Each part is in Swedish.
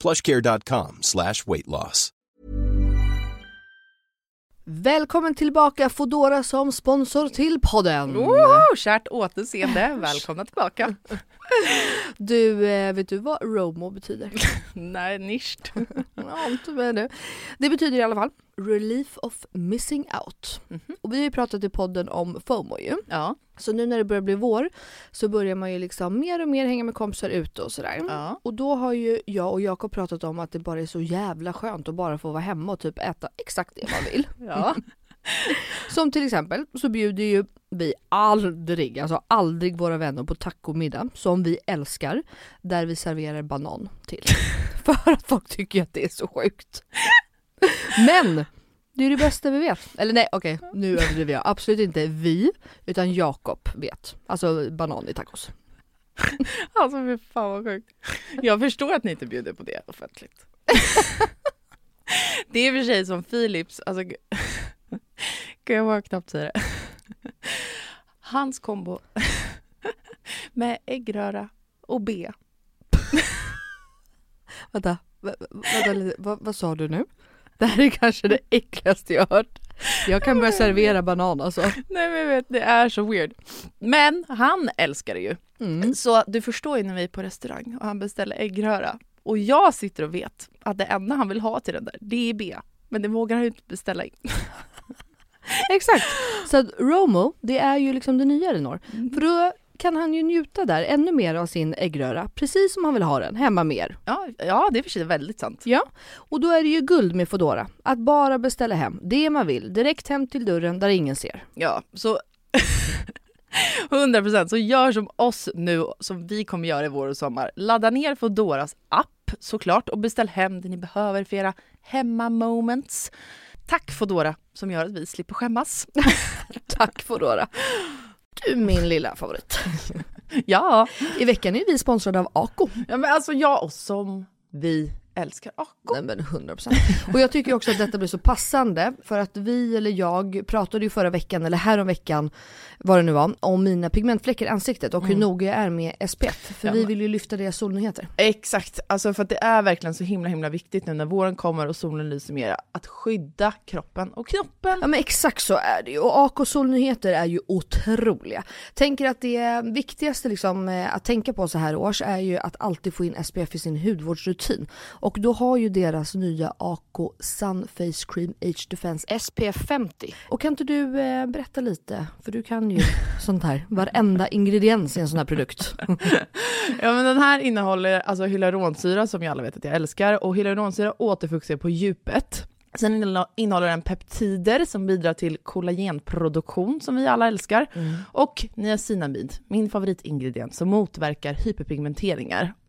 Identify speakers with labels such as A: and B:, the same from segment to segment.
A: plushcare.com slash weight loss.
B: Välkommen tillbaka Fodora som sponsor till podden.
C: Mm. Woho! Kärt återseende, välkomna tillbaka.
B: Du, eh, vet du vad Romo betyder?
C: Nej, nischt.
B: Ja, inte med nu. Det betyder i alla fall Relief of Missing Out. Och vi har ju pratat i podden om FOMO ju.
C: Ja,
B: Så nu när det börjar bli vår så börjar man ju liksom mer och mer hänga med kompisar ute och sådär.
C: ja.
B: Och då har ju jag och Jakob pratat om att det bara är så jävla skönt att bara få vara hemma och typ äta exakt det man vill.
C: ja.
B: Som till exempel så bjuder ju vi aldrig, alltså aldrig våra vänner på tacomiddag som vi älskar där vi serverar banan till. För att folk tycker att det är så sjukt. Men det är det bästa vi vet. Eller nej okej, nu överdriver jag. Absolut inte vi, utan Jakob vet. Alltså banan i tacos.
C: Alltså fy fan vad sjukt. Jag förstår att ni inte bjuder på det offentligt. det är i och för sig som Philips, alltså g- gud jag vågar knappt säga det. Hans kombo med äggröra och B.
B: Vänta, vä- vä- vänta lite. Vad- vad sa du nu? Det här är kanske det äckligaste jag hört. Jag kan börja servera banan alltså.
C: Nej men jag vet, det är så weird. Men han älskar det ju.
B: Mm.
C: Så du förstår ju när vi är på restaurang och han beställer äggröra och jag sitter och vet att det enda han vill ha till den där, det är B. Men det vågar han ju inte beställa in.
B: Exakt. Så att Romo, det är ju liksom det nya Elinor. För då kan han ju njuta där ännu mer av sin äggröra, precis som han vill ha den, hemma med er.
C: Ja, ja det är i och för sig väldigt sant.
B: Ja, och då är det ju guld med Foodora. Att bara beställa hem det man vill, direkt hem till dörren där ingen ser.
C: Ja, så 100% så gör som oss nu, som vi kommer göra i vår och sommar. Ladda ner Foodoras app såklart och beställ hem det ni behöver för era hemma-moments. Tack Foodora som gör att vi slipper skämmas.
B: Tack Foodora. Du min lilla favorit.
C: Ja,
B: I veckan är vi sponsrade av Ako.
C: ja men alltså jag och som vi älskar Ako.
B: Nej men 100%. Och jag tycker också att detta blir så passande för att vi eller jag pratade ju förra veckan eller häromveckan vad det nu var om mina pigmentfläckar i ansiktet och hur noga jag är med SPF. För
C: Ja,
B: vi
C: men-
B: vill ju lyfta deras solnyheter.
C: Exakt, alltså för att det är verkligen så himla himla viktigt nu när våren kommer och solen lyser mer att skydda kroppen och knoppen.
B: Ja men exakt så är det ju och AK solnyheter är ju otroliga. Tänker att det viktigaste liksom eh, att tänka på så här års är ju att alltid få in SPF i sin hudvårdsrutin. Och då har ju deras nya AK Sun Face Cream Age Defense SPF 50. Och kan inte du eh, berätta lite, för du kan ju sånt här, varenda ingrediens i en sån här produkt.
C: Ja men den här innehåller alltså hyaluronsyra som ju alla vet att jag älskar och hyaluronsyra återfuktar på djupet. Sen innehå- innehåller den peptider som bidrar till kollagenproduktion som vi alla älskar. Och niacinamid, min favoritingrediens som motverkar hyperpigmenteringar.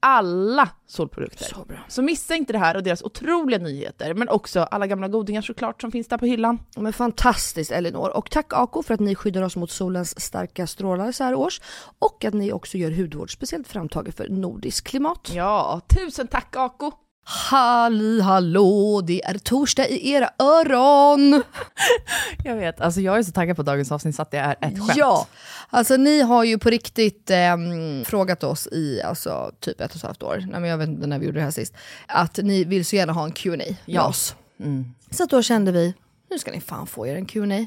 D: Alla solprodukter. Så bra. Så missa inte det här och deras otroliga nyheter, men också alla gamla godingar såklart som finns där på hyllan.
B: Men fantastiskt Elinor och tack Ako för att ni skyddar oss mot solens starka strålar så här års och att ni också gör hudvård speciellt framtaget för nordiskt klimat.
D: Ja, tusen tack Ako!
B: Halli hallå, det är torsdag i era öron!
C: Jag vet, alltså jag är så taggad på dagens avsnitt så att det är ett skämt.
B: Ja, alltså ni har ju på riktigt ehm, frågat oss i alltså, typ ett och ett halvt år, Nej, men jag vet inte när vi gjorde det här sist, att ni vill så gärna ha en Q&A med oss.
C: Mm.
B: Så att då kände vi, nu ska ni fan få er en Q&A.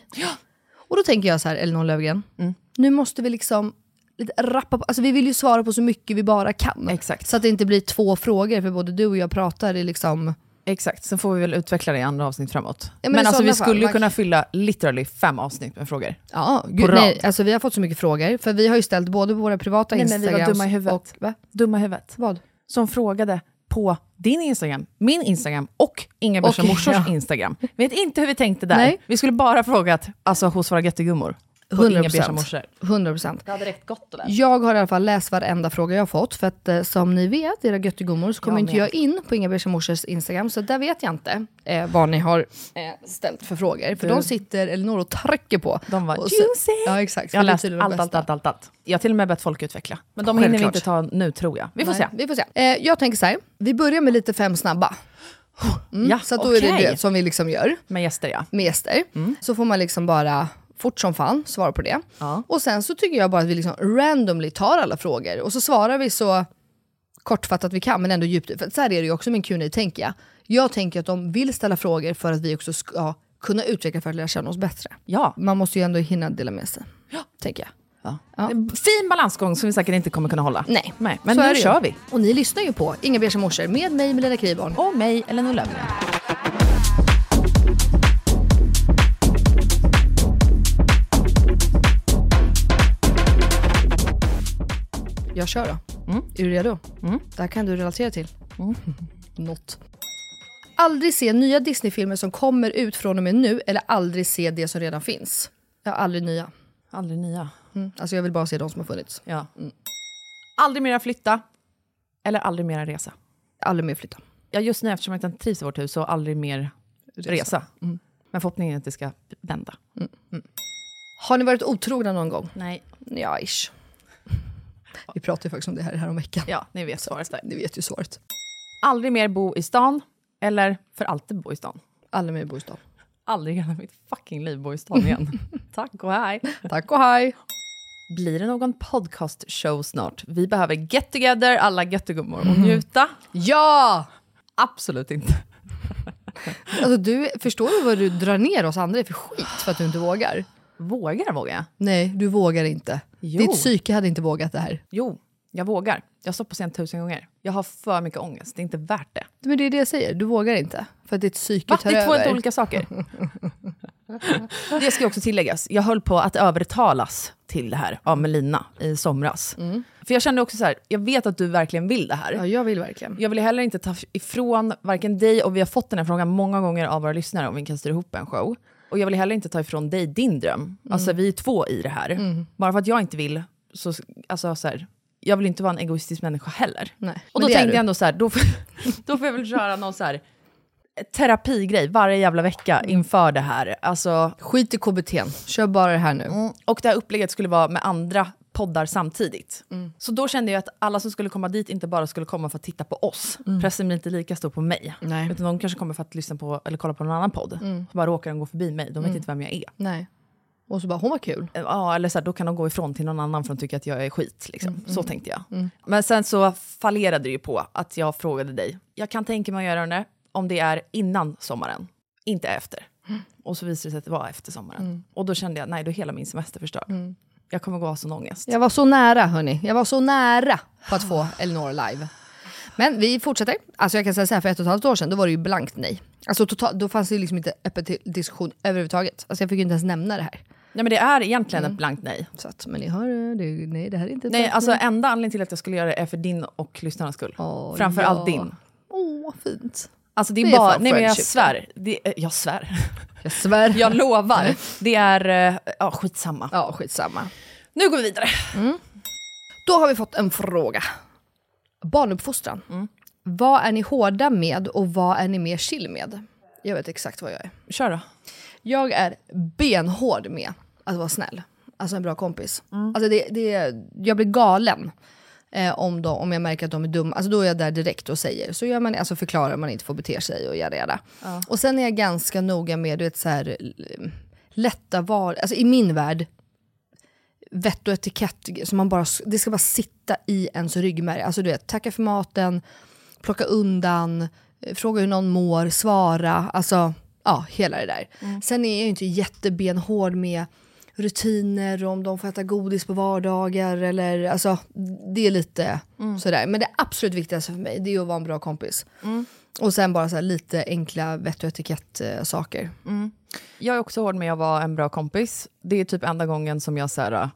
B: Och då tänker jag så här, Elinor Löfgren,
C: Mm.
B: nu måste vi liksom lite rappa på, alltså vi vill ju svara på så mycket vi bara kan.
C: Exakt.
B: Så att det inte blir två frågor, för både du och jag pratar i liksom
C: Exakt, sen får vi väl utveckla det i andra avsnitt framåt.
B: men i
C: men alltså
B: sådana
C: vi skulle ju
B: fall-
C: kunna fylla literally fem avsnitt med frågor.
B: Ja, gud,
C: rad.
B: nej, alltså vi har fått så mycket frågor, för vi har ju ställt både på våra privata
C: Nej, men vi
B: Instagrams
C: var dumma i huvudet.
B: och... Va?
C: Dumma huvudet.
B: Vad?
C: Som frågade på din Instagram, min Instagram och Inga Börs
B: Och-
C: morsors
B: ja.
C: Instagram. Vet inte hur vi tänkte där.
B: Nej.
C: Vi skulle bara frågat alltså, hos våra göttegummor. På Inga Börs
B: 100%.
C: morsor.
B: 100%.
C: Det hade räckt gott att
B: Jag har i alla fall läst varenda fråga jag har fått, för att eh, som ni vet, era göttegummor, så kommer
C: Jag
B: inte
C: med.
B: jag in på Inga Beige Morsers Instagram, så där vet jag inte eh, vad ni har eh, ställt för frågor. För
C: Du.
B: de sitter Elinor och trycker på.
C: De var
B: Och
C: juicy.
B: Ja, exakt.
C: Jag har
B: Det är
C: läst
B: tydligen de
C: allt, allt,
B: bästa.
C: allt, allt, allt. Jag har till och med bett folk utveckla. Men de hinner vi
B: Självklart.
C: inte ta nu tror jag. Vi får
B: Nej,
C: se.
B: Vi får se. Eh, jag tänker så här, vi börjar med lite fem snabba. Mm,
C: Ja,
B: så att då är
C: okej.
B: det det som vi liksom gör.
C: Med gäster ja.
B: med gäster.
C: Mm.
B: Så får man liksom bara fort som fan svara på det.
C: Ja.
B: Och sen så tycker jag bara att vi liksom randomly tar alla frågor och så svarar vi så kortfattat vi kan men ändå djupt. För så här är det ju också med en Q&A tänker jag. Jag tänker att de vill ställa frågor för att vi också ska kunna utveckla för att lära känna oss bättre.
C: Ja.
B: Man måste ju ändå hinna dela med sig, tänker jag.
C: Fin balansgång som vi säkert inte kommer kunna hålla.
B: Nej,
C: men
B: så är
C: nu
B: det ju.
C: kör vi.
B: Och ni lyssnar ju på Inga Beige Morsor med mig Melina Kriborn.
C: Och mig, Elinor Löfgren.
B: Jag kör då. Är du redo? Det här kan du relatera till. Något. Aldrig se nya Disney-filmer som kommer ut från och med nu eller aldrig se det som redan finns. Ja, aldrig nya.
C: Aldrig nya.
B: Mm. Alltså jag vill bara se de som har funnits. Mm.
C: Ja. Aldrig mera flytta. Eller aldrig mera resa.
B: Aldrig mer flytta.
C: Ja, just nu eftersom jag inte trivs i vårt hus så aldrig mer resa. Mm. Men förhoppningen är att det ska vända.
B: Har ni varit otrogna någon gång?
C: Nej.
B: Ja, ish. Vi pratade ju faktiskt om det här, här om veckan.
C: Ja, ni vet svaret där.
B: Ni vet ju svaret.
C: Aldrig mer bo i stan. Eller för alltid bo i stan.
B: Aldrig mer bostad.
C: Aldrig i hela mitt fucking liv bo i stan igen. Tack och hej.
B: Tack och hej!
C: Blir det någon podcast-show snart? Vi behöver get together, alla göttegummor, och njuta.
B: Ja!
C: Mm. Absolut inte.
B: Alltså du, förstår du vad du drar ner oss andra i för skit för att du inte vågar?
C: Vågar vågar jag?
B: Nej, du vågar inte.
C: Jo.
B: Ditt psyke hade inte vågat det här.
C: Jo, jag vågar. Jag står på scen tusen gånger. Jag har för mycket ångest, det är inte värt det.
B: Men det är det jag säger, du vågar inte. För att ditt psyke
C: Va?
B: tar
C: Det är två
B: över.
C: helt olika saker. det ska ju också tilläggas, jag höll på att övertalas till det här av Melina i somras. För jag kände också så här, jag vet att du verkligen vill det här.
B: Ja, jag vill verkligen.
C: Jag vill heller inte ta ifrån varken dig, och vi har fått den här frågan många gånger av våra lyssnare om vi kan styra ihop en show. Och jag vill heller inte ta ifrån dig din dröm.
B: Mm.
C: Alltså vi är två i det här. Bara för att jag inte vill, så, alltså, så här, jag vill inte vara en egoistisk människa heller.
B: Nej, men
C: Och då
B: det är
C: tänkte
B: du.
C: jag ändå så här, då får, då får jag väl köra någon så här eh, terapigrej varje jävla vecka
B: Mm.
C: inför det här. Alltså,
B: Skit i KBT, kör bara det här nu.
C: Mm. och det här upplägget skulle vara med andra poddar samtidigt. Så då kände jag att alla som skulle komma dit inte bara skulle komma för att titta på oss. Pressen blir inte lika stor på mig.
B: Nej.
C: Utan de kanske kommer för att lyssna på eller kolla på någon annan podd. Så bara råkar de gå förbi mig, de vet inte vem jag är.
B: Nej. Och så bara, hon var kul.
C: Eh, Ja, eller så här, då kan de gå ifrån till någon annan för de tycker att jag är skit. Liksom.
B: Mm,
C: Så tänkte jag. Men sen så fallerade det ju på att jag frågade dig. Jag kan tänka mig att göra det om det är innan sommaren, inte efter.
B: Mm.
C: Och så visade det sig att det var efter sommaren. Och då kände jag, nej, då är hela min semester förstörd.
B: Mm.
C: Jag kommer gå av sån ångest.
B: Ah. Jag var så nära hörni, jag var så nära på att få Elinor live. Men vi fortsätter. Alltså jag kan säga så här, för ett och ett halvt år sedan då var det ju blankt nej. Alltså totalt, då fanns det ju liksom inte öppet till diskussion överhuvudtaget. Alltså jag fick ju inte ens nämna det här.
C: Nej, men det är egentligen ett blankt nej.
B: Så att, men ni hör, eh, det, är- Mm. nej det här är inte ett
C: Nej,
B: blankt
C: alltså enda anledningen till att jag skulle göra det är för din och lyssnarnas skull.
B: Åh,
C: Framför
B: ja.
C: allt din.
B: Åh, fint.
C: Alltså det
B: Det
C: är
B: är
C: bara,
B: fan
C: nej men jag
B: friendship.
C: svär. Det, eh, jag svär.
B: Jag svär.
C: Jag lovar. Det är, eh, ja skitsamma.
B: Ja, skitsamma.
C: Nu går vi vidare.
B: Då har vi fått en fråga. Barnuppfostran.
C: Mm.
B: Vad är ni hårda med och vad är ni mer chill med? Jag vet exakt vad jag är.
C: Kör då.
B: Jag är benhård med att vara snäll. Alltså en bra kompis.
C: Mm.
B: Alltså det, det, jag blir galen eh, om, de, om jag märker att de är dumma. Alltså då är jag där direkt och säger. Så gör man, alltså förklarar man inte får bete sig och jada jada. Och sen är jag ganska noga med du vet, så här, l- lätta val. Alltså i min värld, vett och etikett. Så man bara, det ska bara sitta i ens ryggmärg. Alltså du vet, tacka för maten, plocka undan, eh, fråga hur någon mår, svara. Alltså, ja, hela det där. Sen är jag ju inte jättebenhård med rutiner och om de får äta godis på vardagar eller alltså det är lite sådär. Men det absolut viktigaste för mig det är att vara en bra kompis. Och sen bara så här lite enkla vett och etikett eh, saker.
C: Jag är också hård med att vara en bra kompis. Det är typ enda gången som jag så här, äh,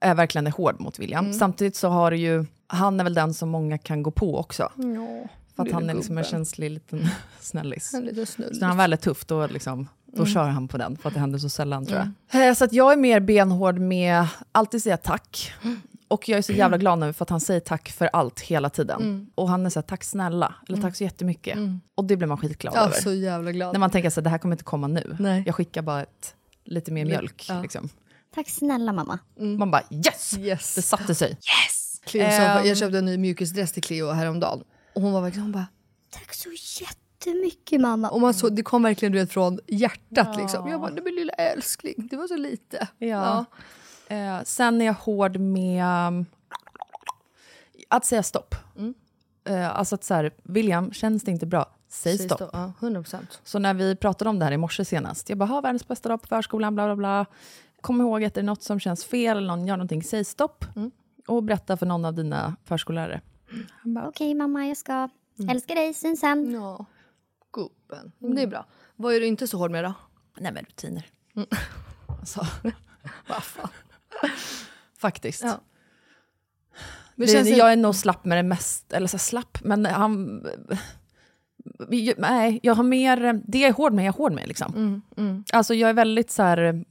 C: är verkligen är hård mot William.
B: Mm.
C: Samtidigt så har det ju, han är väl den som många kan gå på också. för att han är liksom en känslig liten snällis.
B: En liten Mm. snull.
C: Så när han väl är tuff, då, liksom, då kör han på den, för att det händer så sällan tror
B: Mm.
C: jag. Eh, Så att jag är mer benhård med, alltid säga tack. Och jag är så jävla glad nu för att han säger tack för allt hela tiden.
B: Mm.
C: Och han är så här, tack snälla, eller tack så jättemycket. Och det blir man skitglad
B: Ja,
C: över.
B: så jävla glad.
C: När man tänker så här, det här kommer inte komma nu.
B: Nej.
C: Jag skickar bara ett, lite mer mjölk. Liksom.
E: Tack snälla mamma.
C: Man bara yes!
B: Yes.
C: Det satte sig.
B: Cleo sa,
C: Ehm.
B: jag köpte en ny mjukisdress till Cleo häromdagen. Och hon var verkligen hon bara,
E: Tack så jättemycket mamma.
B: och man
C: Mm.
B: såg, det kom verkligen du vet, från hjärtat liksom. Jag bara, du min lilla älskling, det var så lite.
C: Ja. Eh, sen är jag hård med um, att säga stopp. Eh, alltså att så här, William, känns det inte bra, säg,
B: Säg
C: stopp.
B: stopp. Ja, 100%.
C: Så när vi pratade om det här i morse senast, jag bara, ha världens bästa dag på förskolan, bla bla bla. Kom ihåg att är det något som känns fel eller någon gör någonting, säg stopp. Och berätta för någon av dina förskollärare.
E: Okej mamma, jag ska. Älskar dig, syns sen.
B: Ja, gubben.
C: Mm.
B: Det är bra. Vad är du inte så hård med då?
C: Nej men rutiner. Alltså, vad fan. Faktiskt.
B: Ja.
C: Det,
B: Men känns det-
C: jag är nog slapp med det mest, eller så här, slapp, men han... Vi- Nej, jag har mer, det jag är hård med, jag är hård med liksom. Alltså jag är väldigt så här,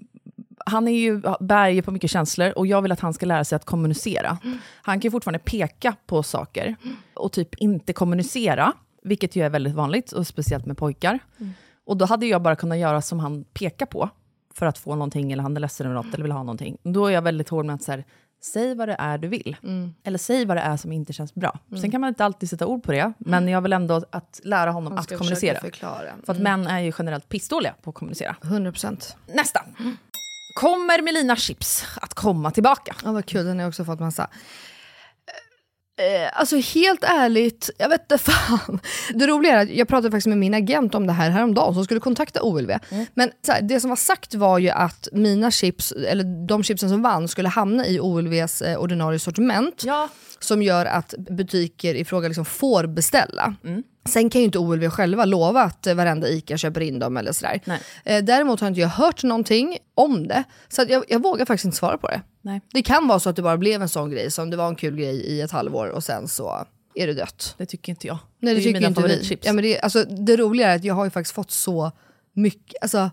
C: han är ju, bär ju på mycket känslor och jag vill att han ska lära sig att kommunicera. Han kan ju fortfarande peka på saker och typ inte kommunicera, vilket ju är väldigt vanligt, och speciellt med pojkar. Och då hade jag bara kunnat göra som han pekar på, för att få någonting, eller han är ledsen över något, eller vill ha någonting. Då är jag väldigt hård med att så här, säg vad det är du vill.
B: Mm.
C: Eller säg vad det är som inte känns bra. Sen kan man inte alltid sätta ord på det, men jag vill ändå att lära honom att
B: Mm. ska
C: kommunicera.
B: försöka förklara. Mm.
C: För att män är ju generellt pissdåliga på att kommunicera.
B: 100%.
C: Nästa. Kommer Melina Chips att komma tillbaka?
B: Ja, vad kul, den har jag också fått massa. Eh, Alltså helt ärligt, jag vet inte fan. Det roliga är att jag pratade faktiskt med min agent om det här häromdagen som skulle kontakta OLV.
C: Mm.
B: Men så här, det som var sagt var ju att mina chips, eller de chipsen som vann skulle hamna i OLVs eh, ordinarie sortiment.
C: Ja.
B: som gör att butiker i fråga liksom får beställa.
C: Mm.
B: Sen kan ju inte OLV själva lova att eh, varenda ICA köper in dem eller sådär.
C: Nej.
B: Eh, Däremot har inte jag hört någonting om det, så att jag, jag vågar faktiskt inte svara på det.
C: Nej.
B: Det kan vara så att det bara blev en sån grej som det var en kul grej i ett halvår och sen så är det dött.
C: Det tycker inte jag.
B: Nej, det,
C: är ju
B: tycker ju
C: mina
B: inte vi.
C: favoritchips.
B: Ja, men det, alltså, det roliga är att jag har ju faktiskt fått så mycket, alltså,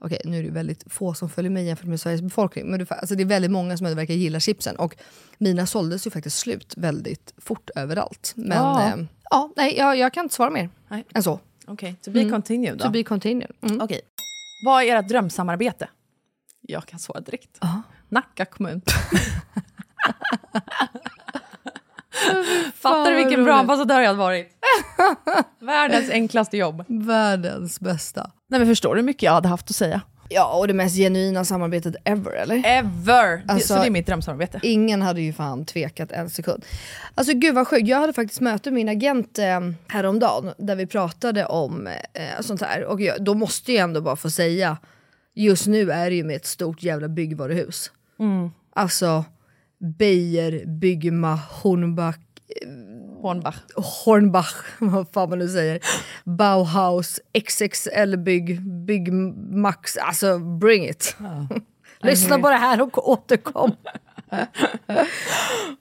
B: okej nu är det ju väldigt få som följer mig jämfört med Sveriges befolkning, men det, alltså, det är väldigt många som verkar gilla chipsen och mina såldes ju faktiskt slut väldigt fort överallt. Men
C: Ja.
B: ja, eh, ja nej, jag, jag kan inte svara mer
C: Nej.
B: än så.
C: Okej, to be continued då.
B: To be continued. Mm.
C: Mm. Okej. Vad är ert drömsamarbete? Jag kan svara direkt. Nacka kommun. Fattar du vilken bra
B: roligt.
C: ambassadör jag hade varit? Världens enklaste jobb.
B: Världens bästa.
C: Nej, men förstår du hur mycket jag hade haft att säga?
B: Ja, och det mest genuina samarbetet ever eller?
C: Ever! Det-
B: Alltså-
C: så det är mitt drömsamarbete.
B: Ingen hade ju fan tvekat en sekund. Alltså gud vad sjukt, jag hade faktiskt möte med min agent eh, häromdagen där vi pratade om eh, sånt här. Och jag, då måste jag ändå bara få säga, just nu är det ju med ett stort jävla byggvaruhus. Alltså Beijer, Byggma, Hornbach, eh,
C: Hornbach.
B: Hornbach, vad fan man nu säger. Bauhaus, XXL-bygg, Bygg Max, alltså bring it. Lyssna på det här och återkom.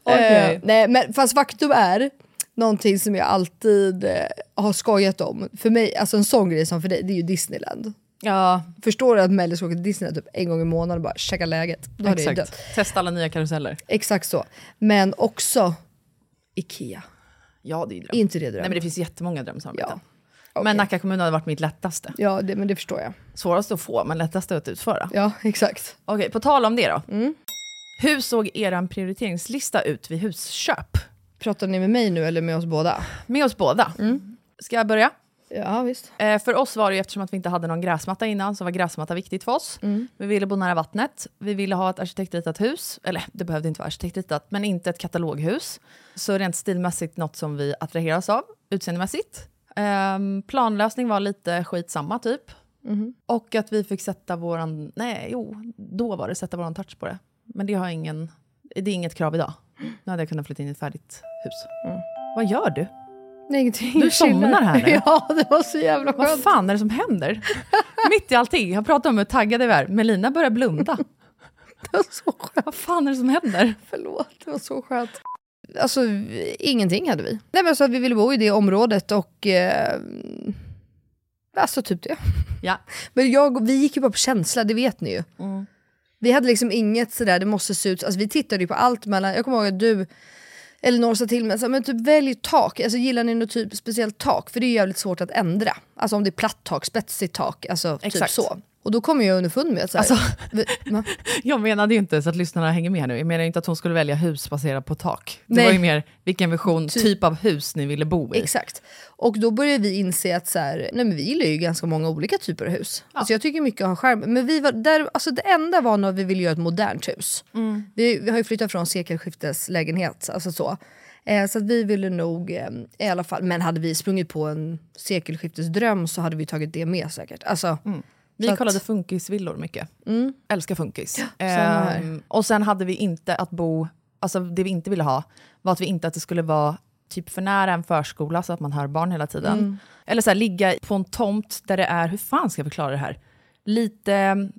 B: Eh, nej, men fast faktum är någonting som jag alltid eh, har skojat om. För mig, alltså en sån grej som för dig, det är ju Disneyland.
C: Ja,
B: Förstår du att Melly ska åka till Disneyland typ en gång i månaden och bara checka läget? Då hade jag ju dött.
C: exakt. Testa alla nya karuseller.
B: Exakt så. Men också Ikea.
C: Ja, det är ju dröm.
B: Är inte det dröm?
C: Nej, men det finns jättemånga drömsamarbeten.
B: Ja. Okej.
C: Men Nacka kommun hade varit mitt lättaste.
B: Ja, det, men det förstår jag.
C: Svårast att få, men lättast att utföra.
B: Ja, exakt.
C: Okej, på tal om det då. Hur såg er prioriteringslista ut vid husköp?
B: Pratar ni med mig nu eller med oss båda?
C: Med oss båda. Ska jag börja?
B: Ja, visst.
C: Eh, för oss var det ju, eftersom att vi inte hade någon gräsmatta innan, så var gräsmatta viktigt för oss. Vi ville bo nära vattnet, vi ville ha ett arkitektritat hus, eller det behövde inte vara arkitektritat, men inte ett kataloghus. Så rent stilmässigt något som vi attraheras av, utseendemässigt. Ehm, planlösning var lite skitsamma typ. Och att vi fick sätta våran, nej jo, då var det sätta våran touch på det. Men det har ingen, det är inget krav idag. Nu hade jag kunnat flytta in i ett färdigt hus. Vad gör du?
B: Nej, ingenting.
C: Du somnar här nu.
B: Ja, det var så jävla
C: Vad
B: skönt.
C: fan är det som händer? Mitt i allting. Jag pratar om hur taggade vi är. Melina börjar blunda.
B: Det var så skönt.
C: Vad fan är det som händer?
B: Förlåt, det var så skönt. Alltså, vi- ingenting hade vi. Nej, men så att vi ville bo i det området och... Eh, alltså, typ det.
C: Ja.
B: Men jag, vi gick ju bara på känsla, det vet ni ju. Vi hade liksom inget sådär, det måste se ut... Alltså, vi tittade ju på allt mellan... Jag kommer ihåg att du... Eller några sa till mig, så, här, men typ välj tak. Alltså, gillar ni något typ speciellt tak? För det är ju jävligt svårt att ändra. Alltså om det är platt tak, spetsigt tak, alltså typ
C: Exakt.
B: så. Och då kommer jag underfund med att så här, vi, va?
C: Jag menade ju inte, så att lyssnarna hänger med här nu, jag menade ju inte att hon skulle välja hus baserat på tak. Det
B: Nej.
C: var ju mer vilken vision, typ av hus ni ville bo i.
B: Exakt. Och då började vi inse att så här, nej men vi gillar ju ganska många olika typer av hus. Alltså jag tycker mycket om skärm. Men vi var, där, alltså det enda var när vi ville göra ett modernt hus.
C: Mm.
B: Vi, vi har ju flyttat från sekelskifteslägenhet. Alltså så. Eh, så att vi ville nog eh, i alla fall, men hade vi sprungit på en sekelskiftesdröm så hade vi tagit det med säkert. Alltså,
C: Mm. Vi
B: Så att- Mm.
C: kollade funkisvillor mycket. Älskar funkis.
B: här.
C: Ehm, och sen hade vi inte att bo, alltså det vi inte ville ha var att vi inte att det skulle vara typ för nära en förskola så att man hör barn hela tiden.
B: Mm.
C: Eller så här, ligga på en tomt där det är, hur fan ska jag förklara det här? Lite mm,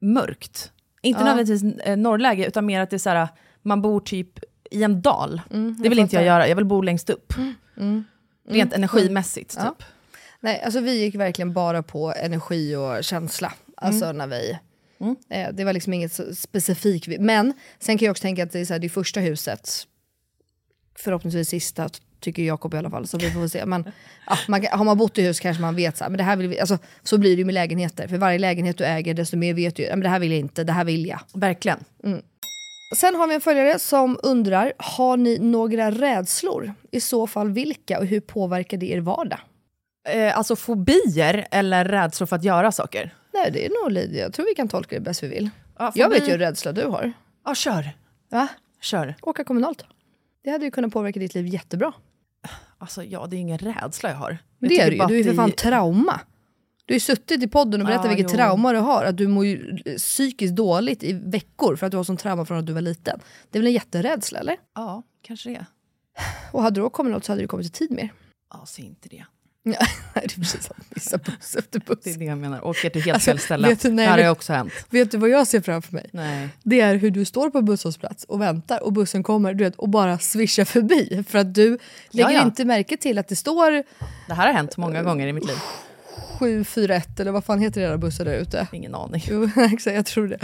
C: mörkt. Inte nödvändigtvis eh, norrläge utan mer att det är så här, man bor typ i en dal.
B: Mm,
C: det vill inte jag göra, jag vill bo längst upp.
B: Mm.
C: Rent energimässigt typ.
B: Nej, alltså vi gick verkligen bara på energi och känsla. Alltså när vi... Eh, det var liksom inget så specifikt. vi- Men sen kan jag också tänka att det är så här, det första huset, förhoppningsvis sista, t- tycker Jakob i alla fall, så vi får se. Men, ja, man, kan- har man bott i hus kanske man vet så här, men det här vill vi, alltså, så blir det ju med lägenheter. För varje lägenhet du äger, desto mer vet du ju, "Ja, men det här vill jag inte, det här vill jag.
C: Verkligen.
B: Sen har vi en följare som undrar, har ni några rädslor? I så fall vilka och hur påverkar det er vardag?
C: eh, alltså fobier eller rädslor för att göra saker?
B: Nej, det är nog Lydia. Jag tror vi kan tolka det bäst vi vill.
C: Ja,
B: Jag
C: fobi-
B: vet ju hur rädsla du har.
C: Ja, kör.
B: Va?
C: Kör.
B: Åka kommunalt. Det hade ju kunnat påverka ditt liv jättebra.
C: Alltså, ja, det är ingen rädsla jag har. Jag
B: det
C: tycker
B: är du ju.
C: bara
B: Du är ju
C: att
B: för
C: det-
B: fan trauma. Du har ju suttit i podden och berättat
C: Ja,
B: vilket
C: jo.
B: trauma du har. Att du mår ju psykiskt dåligt i veckor för att du har sån trauma från att du var liten. Det är väl en jätterädsla eller?
C: Ja, kanske det.
B: Och hade du åkt kommunalt så hade du kommit i tid mer.
C: Ja, säg inte det.
B: Nej, det är precis som att missa buss efter buss.
C: Det är det jag menar. Åker till helt fel ställe.
B: vet du, nej,
C: det här har
B: vet-
C: ju också hänt.
B: Vet du vad jag ser framför mig?
C: Nej.
B: det är hur du står på en busshållplats och väntar och bussen kommer du vet, och bara svischar förbi för att du lägger
C: ja.
B: inte märke till att det står
C: Det här har hänt många gånger i mitt liv.
B: 741 eller vad fan heter era bussar där ute?
C: Ingen aning.
B: Jo, exakt, jag tror det.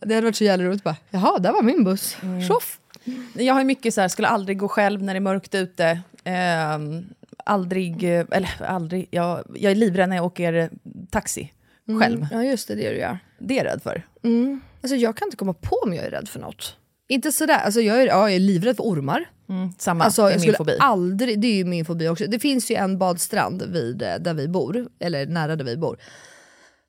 B: Det hade varit så jävla roligt bara, jaha, där var min buss. Tjoff!
C: Jag har ju mycket så här, skulle aldrig gå själv när det är mörkt ute. Ehm, aldrig, eh, eller aldrig, jag, jag är livrädd när jag åker eh, taxi själv.
B: Ja, just det, det är du gör.
C: Det är jag rädd för.
B: Alltså jag kan inte komma på om jag är rädd för något. Inte sådär, alltså jag är, ja, jag är livrädd för ormar.
C: Samma,
B: Alltså,
C: det
B: jag
C: är min
B: skulle
C: fobi.
B: aldrig, det är ju min fobi också. Det finns ju en badstrand vid, eh, där vi bor, eller nära där vi bor,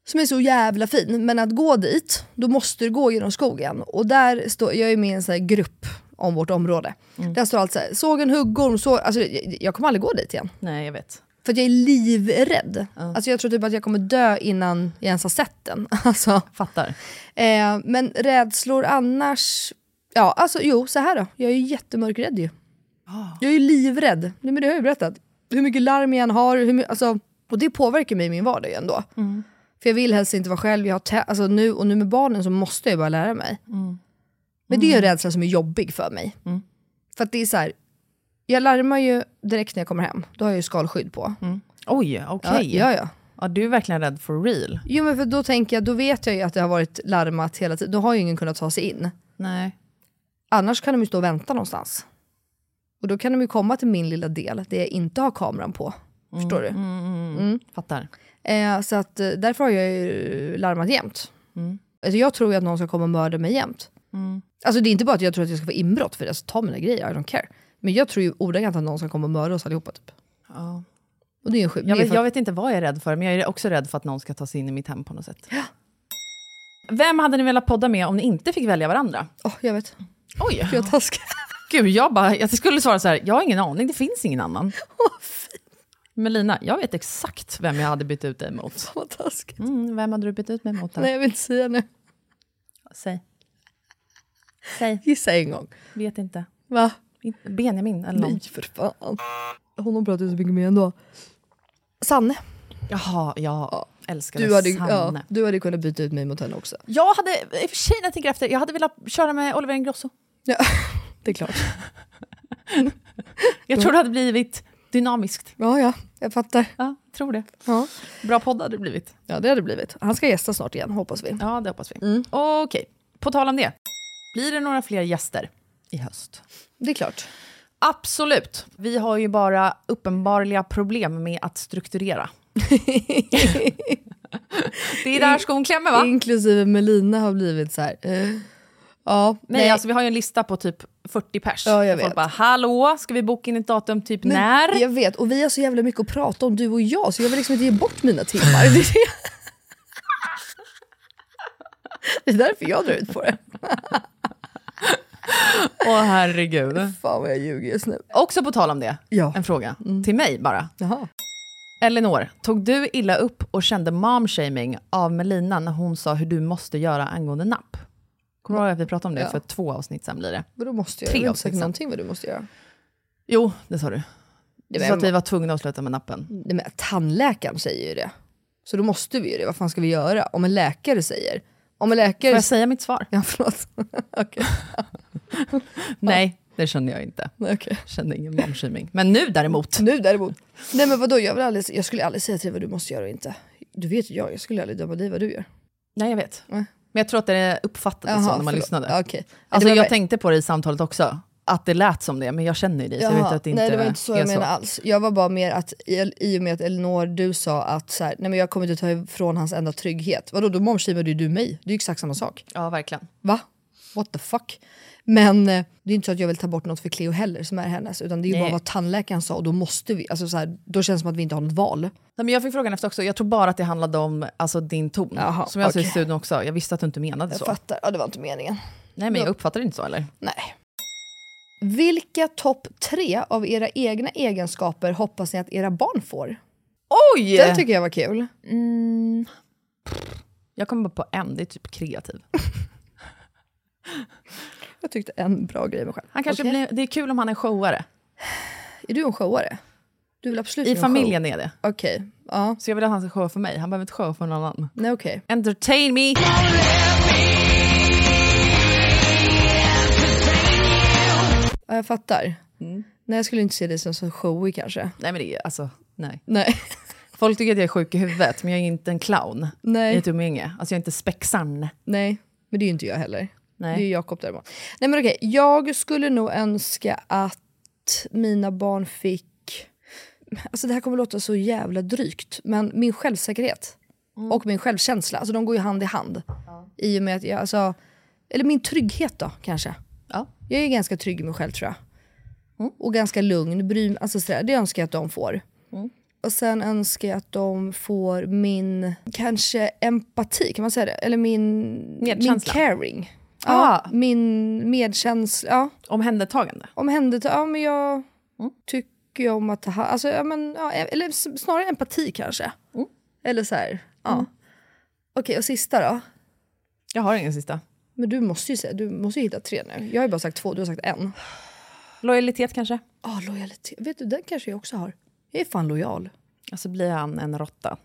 B: som är så jävla fin. Men att gå dit, då måste du gå genom skogen. Och där står, jag är med i en sån här grupp om vårt område.
C: Mm.
B: Där står allt så här, såg en huggorm, så, alltså, jag, jag kommer aldrig gå dit igen.
C: Nej, jag vet.
B: För att jag är livrädd. Alltså, jag tror typ att jag kommer dö innan jag ens har sett den. Alltså,
C: Fattar.
B: eh, men rädslor annars, ja alltså jo så här då, jag är ju jättemörkrädd ju. Jag är ju livrädd, Nej, men det har jag ju berättat. Hur mycket larm jag än har, hur my- alltså, och det påverkar mig i min vardag ändå. För jag vill helst inte vara själv, jag har tä- alltså, nu, och nu med barnen så måste jag ju bara lära mig. Men det är ju en rädsla som är jobbig för mig. För att det är så här, jag larmar ju direkt när jag kommer hem, då har jag ju skalskydd på.
C: Oj, okej.
B: Ja, ja, ja.
C: Ja, du är verkligen rädd for real.
B: Jo men för då tänker jag, då vet jag ju att det har varit larmat hela tiden, då har ju ingen kunnat ta sig in.
C: Nej.
B: Annars kan de ju stå och vänta någonstans. Och då kan de ju komma till min lilla del, där jag inte har kameran på. Förstår
C: Mm,
B: du?
C: Fattar.
B: Eh, så att, eh, därför har jag ju larmat jämt.
C: Mm.
B: Alltså, jag tror ju att någon ska komma och mörda mig jämt. Alltså det är inte bara att jag tror att jag ska få inbrott för det, alltså, ta mina grejer, I don't care. Men jag tror ju ordagrant att någon ska komma och mörda oss allihopa typ. Och det är ju en sjuk...
C: Jag
B: det är
C: vet,
B: för-
C: jag vet inte vad jag är rädd för, men jag är också rädd för att någon ska ta sig in i mitt hem på något sätt. Vem hade ni velat podda med om ni inte fick välja varandra?
B: Åh, jag vet.
C: Oj!
B: Gud, jag taskar.
C: Gud, jag, bara, jag skulle svara så här, jag har ingen aning, det finns ingen annan. Men Lina, jag vet exakt vem jag hade bytt ut dig mot.
B: Vad taskigt.
C: Mm, vem hade du bytt ut mig mot? då?
B: Nej jag vill inte säga nu.
C: Säg. Säg,
B: Gissa en gång.
C: vet inte.
B: Va?
C: In- Benjamin eller någon?
B: Nej för fan. Hon pratar ju så mycket mer ändå. Sanne.
C: Jaha, jag älskade
B: Du hade, ja,
C: Sanne.
B: du hade kunnat byta ut mig mot henne också.
C: Jag hade, i och för sig när jag tänker efter, jag hade velat köra med Oliver Ingrosso.
B: Ja, det är klart.
C: Jag tror det hade blivit dynamiskt.
B: Ja, ja, jag fattar.
C: Ja, tror det.
B: Ja.
C: Bra podd hade det blivit.
B: ja, det hade det blivit. Han ska gästa snart igen, hoppas vi.
C: Ja, det hoppas vi. Okej, på tal om det. Blir det några fler gäster i höst?
B: Det är klart.
C: Absolut. Vi har ju bara uppenbarliga problem med att strukturera. det är där skon klämmer, va?
B: Inklusive Melina har blivit så här. eh, ja,
C: Nej, alltså vi har ju en lista på typ 40 pers.
B: Ja, jag
C: Folk
B: vet.
C: bara, hallå, ska vi boka in ett datum typ när?
B: Jag vet, och vi har så jävla mycket att prata om du och jag så jag vill liksom inte ge bort mina timmar. Det är, det. det är därför jag drar ut på det.
C: Åh herregud.
B: Fan vad jag ljuger just nu.
C: Också på tal om det,
B: Ja. Mm.
C: en fråga till mig bara.
B: Jaha.
C: Elinor, tog du illa upp och kände momshaming av Melina när hon sa hur du måste göra angående napp? Kommer du ihåg att vi pratade om det
B: Ja.
C: för två avsnitt sen blir det?
B: Men då måste jag,
C: Tre
B: jag har inte
C: avsnitt
B: sagt
C: sen.
B: någonting vad du måste göra.
C: Jo, det sa du.
B: Det
C: Du
B: var- Mm.
C: sa att vi var tvungna att sluta med nappen.
B: Nej, men tandläkaren säger ju det. Så då måste vi ju det. Vad fan ska vi göra? Om en läkare säger... Om en
C: Får
B: läkare...
C: jag säga mitt svar?
B: Ja, förlåt. Okej.
C: Nej, det kände jag inte.
B: Nej, okej.
C: Jag kände ingen momshaming. Men nu däremot.
B: Nu däremot. Nej men vadå, jag, vill aldrig, jag skulle aldrig säga till dig vad du måste göra och inte. Du vet ju jag, jag skulle aldrig döma dig vad du gör. Alltså,
C: Nej, jag vet.
B: Nej.
C: Men jag tror att det uppfattades så när man
B: förlåt.
C: lyssnade.
B: Ja, Okej.
C: Alltså,
B: Det var-
C: jag tänkte på det i samtalet också, att det lät som det, men jag känner ju dig, så jag
B: Jaha,
C: vet att det inte
B: nej det var inte så
C: är
B: jag menade alls. Jag var bara mer att i, i och med att Elinor du sa att så här, nej men jag kommer inte ta ifrån hans enda trygghet. Vadå då momshamade ju du mig. Det är ju exakt samma sak.
C: Ja, verkligen.
B: Va? What the fuck? Men eh, det är inte så att jag vill ta bort något för Cleo heller som är hennes. Utan det är ju
C: Nej.
B: bara vad tandläkaren sa och då måste vi. Alltså, så här, då känns det som att vi inte har något val.
C: Nej, men jag fick frågan efter också, jag tror bara att det handlade om alltså, din ton.
B: Jaha,
C: som jag sa i
B: okej.
C: studion också, jag visste att du inte menade
B: Jag
C: så.
B: fattar, ja, det var inte meningen.
C: Nej, men jag uppfattar det inte så eller?
B: Nej. Vilka topp tre av era egna egenskaper hoppas ni att era barn får?
C: Oj!
B: Den tycker jag var kul. Mm.
C: Jag kommer bara på en, det är typ kreativ.
B: Jag tyckte en bra grej med själv.
C: Han kanske
B: Okej.
C: blir, det är kul om han är showare.
B: Är du en showare? Du vill absolut bli
C: I
B: en show.
C: familjen är det.
B: Okej. Ja.
C: Så jag vill att han ska showa för mig, han behöver inte showa för någon annan.
B: Nej okej.
C: Entertain me!
B: Ja, jag fattar. Nej jag skulle inte se dig som så showig kanske.
C: Nej men det är alltså, nej.
B: Nej.
C: Folk tycker att jag är sjuk i huvudet, men jag är inte en clown i
B: Nej.
C: ett umgänge. Alltså jag är inte spexan.
B: Nej. Men det är ju inte jag heller.
C: Nej.
B: Det är ju Jakob däremot. Nej men okej. Jag skulle nog önska att mina barn fick... Alltså det här kommer låta så jävla drygt. Men min självsäkerhet
C: Mm.
B: och min självkänsla. Alltså de går ju hand i hand. I och med att jag... Alltså, eller min trygghet då kanske.
C: Ja. Mm.
B: Jag är ganska trygg i mig själv tror jag. Och ganska lugn. Bry, alltså sådär, det önskar jag att de får.
C: Mm.
B: Och sen önskar jag att de får min, kanske empati, kan man säga det? Eller min, min
C: Medkänsla.
B: caring.
C: Ah.
B: Ja, Min medkänsla, ja.
C: Omhändertagande.
B: Omhänderta, ja men jag tycker ju om att ta hand, alltså, ja, men, ja, eller s- snarare empati kanske. Eller så här, ja. Okej, och sista då?
C: Jag har ingen sista.
B: Men du måste ju säga, du måste ju hitta tre nu. Jag har ju bara sagt två, du har sagt en.
C: Lojalitet kanske?
B: Ah, lojalitet. Vet du, den kanske jag också har. Jag är fan lojal.
C: Alltså blir han en råtta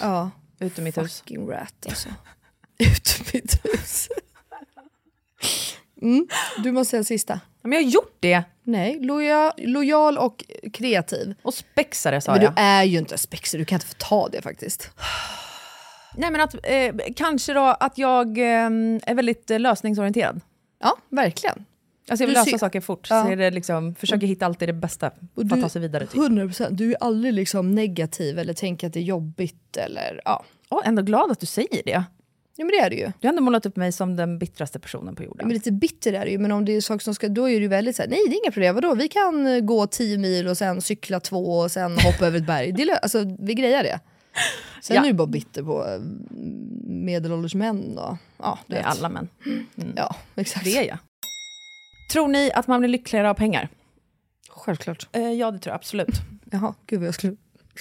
B: Ja.
C: utom mitt hus?
B: Fucking rat alltså. Ut mitt hus. Mm. Du måste säga en sista.
C: Ja, Men jag har gjort det!
B: Nej, loja, lojal och kreativ.
C: Och spexare sa
B: Men du
C: jag.
B: är ju inte spexig, du kan inte få ta det faktiskt.
C: Nej men att, eh, kanske då att jag ehm, är väldigt eh, lösningsorienterad.
B: Ja, verkligen.
C: Alltså jag vill
B: Du
C: lösa
B: ser-
C: saker fort.
B: Ja.
C: Så är det liksom, försöker hitta alltid det bästa för
B: Och
C: att
B: du-
C: ta sig vidare. Typ.
B: 100%, du är aldrig liksom negativ eller tänker att det är jobbigt eller ja.
C: Oh, ändå glad att du säger det.
B: Ja men det är det ju.
C: Du har ändå målat upp mig som den bittraste personen på jorden.
B: Men lite bitter är det ju, men om det är saker som ska, då är du ju väldigt såhär, nej det är inga problem, vadå vi kan eh, gå 10 mil och sen cykla två och sen hoppa över ett berg. Det är, lö- alltså, vi grejar det. Sen
C: Ja.
B: är du bara bitter på eh, medelålders män och ja, du
C: det är
B: vet.
C: alla män.
B: Ja, exakt.
C: Mm. Det är jag. Tror ni att man blir lyckligare av pengar?
B: Självklart.
C: Eh, ja, det tror jag absolut.
B: Jaha, gud vad jag skulle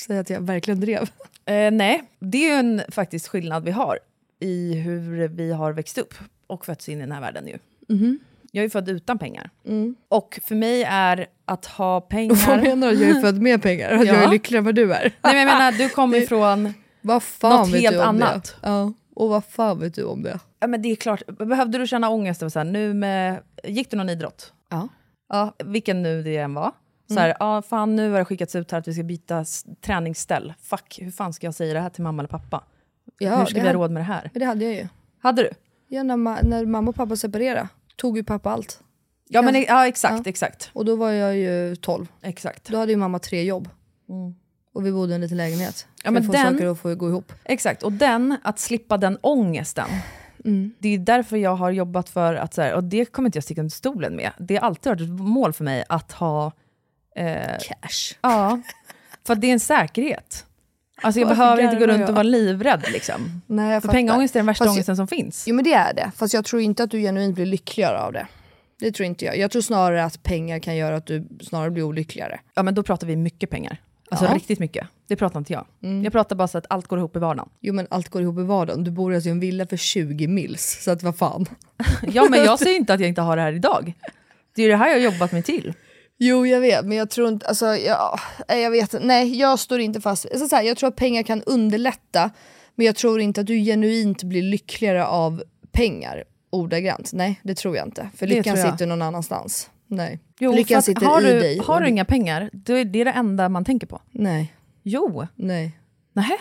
B: säga att jag verkligen drev.
C: Eh, nej, det är ju en faktiskt skillnad vi har i hur vi har växt upp och fötts in i den här världen ju.
B: Mhm.
C: Jag är ju född utan pengar. Och för mig är att ha
B: Mm. Vad
C: pengar... Nej,
B: menar du att jag är född med pengar? Att jag
C: Ja.
B: är lyckligare än vad du är?
C: men jag menar, du kommer ifrån...
B: Vad fan
C: Något
B: vet
C: helt
B: du om
C: annat.
B: det? Ja, och vad fan vet du om det?
C: Ja, men det är klart, behövde du känna ångest? över Så här, nu med, gick du någon idrott?
B: Ja. Mm.
C: Ja, vilken nu det än var. Så här, ja, fan, nu har det skickats ut här att vi ska byta s- träningsställ. Fuck, hur fan ska jag säga det här till mamma eller pappa?
B: ja
C: hur
B: det
C: ska vi ha
B: hade-
C: råd med det här?
B: Det hade jag ju.
C: Hade du?
B: Ja, när, ma- när mamma och pappa separerade tog ju pappa allt.
C: Ja, men, ja exakt, exakt.
B: Och då var jag ju 12.
C: Exakt.
B: Då hade ju mamma tre jobb. Och vi bodde i en liten lägenhet. För
C: Mm. men
B: att få
C: den-
B: saker att få gå ihop.
C: Exakt, och den, att slippa den ångesten.
B: Mm.
C: Det är därför jag har jobbat för att, så här, och det kommer inte jag sticka under stolen med, det har alltid varit ett mål för mig att ha... eh,
B: Cash.
C: Ja, för att det är en säkerhet. Alltså jag
B: Varför
C: behöver inte gå
B: garvar
C: runt
B: jag?
C: och vara livrädd. Liksom.
B: Nej, jag
C: För
B: fattar.
C: pengaångest är den värsta
B: Fast jag-
C: ångesten som finns.
B: Jo men det är det. Fast jag tror inte att du genuint blir lyckligare av det. Det tror inte jag. Jag tror snarare att pengar kan göra att du snarare blir olyckligare.
C: Ja, men då pratar vi mycket pengar. Alltså
B: Ja. Mm.
C: riktigt mycket. Det pratar inte jag. Jag pratar bara så att allt går ihop i vardagen.
B: Jo men allt går ihop i vardagen. Du bor alltså i en villa för 20 mils. Så att vad fan.
C: Ja, men jag säger inte att jag inte har det här idag. Det är ju det här jag har jobbat mig till.
B: Jo, jag vet, men jag tror inte... Alltså, jag, nej, jag vet Nej, jag står inte fast. Alltså, så här, jag tror att pengar kan underlätta, men jag tror inte att du genuint blir lyckligare av pengar ordagrant. Nej, det tror jag inte. För
C: Det
B: lyckan
C: tror jag.
B: sitter någon annanstans. Nej.
C: Jo, för
B: lyckan
C: att
B: sitter
C: har
B: i
C: du,
B: dig. och
C: Har du
B: du-
C: inga pengar, då är det är det enda man tänker på.
B: Nej,
C: Jo.
B: nej.
C: Nähä.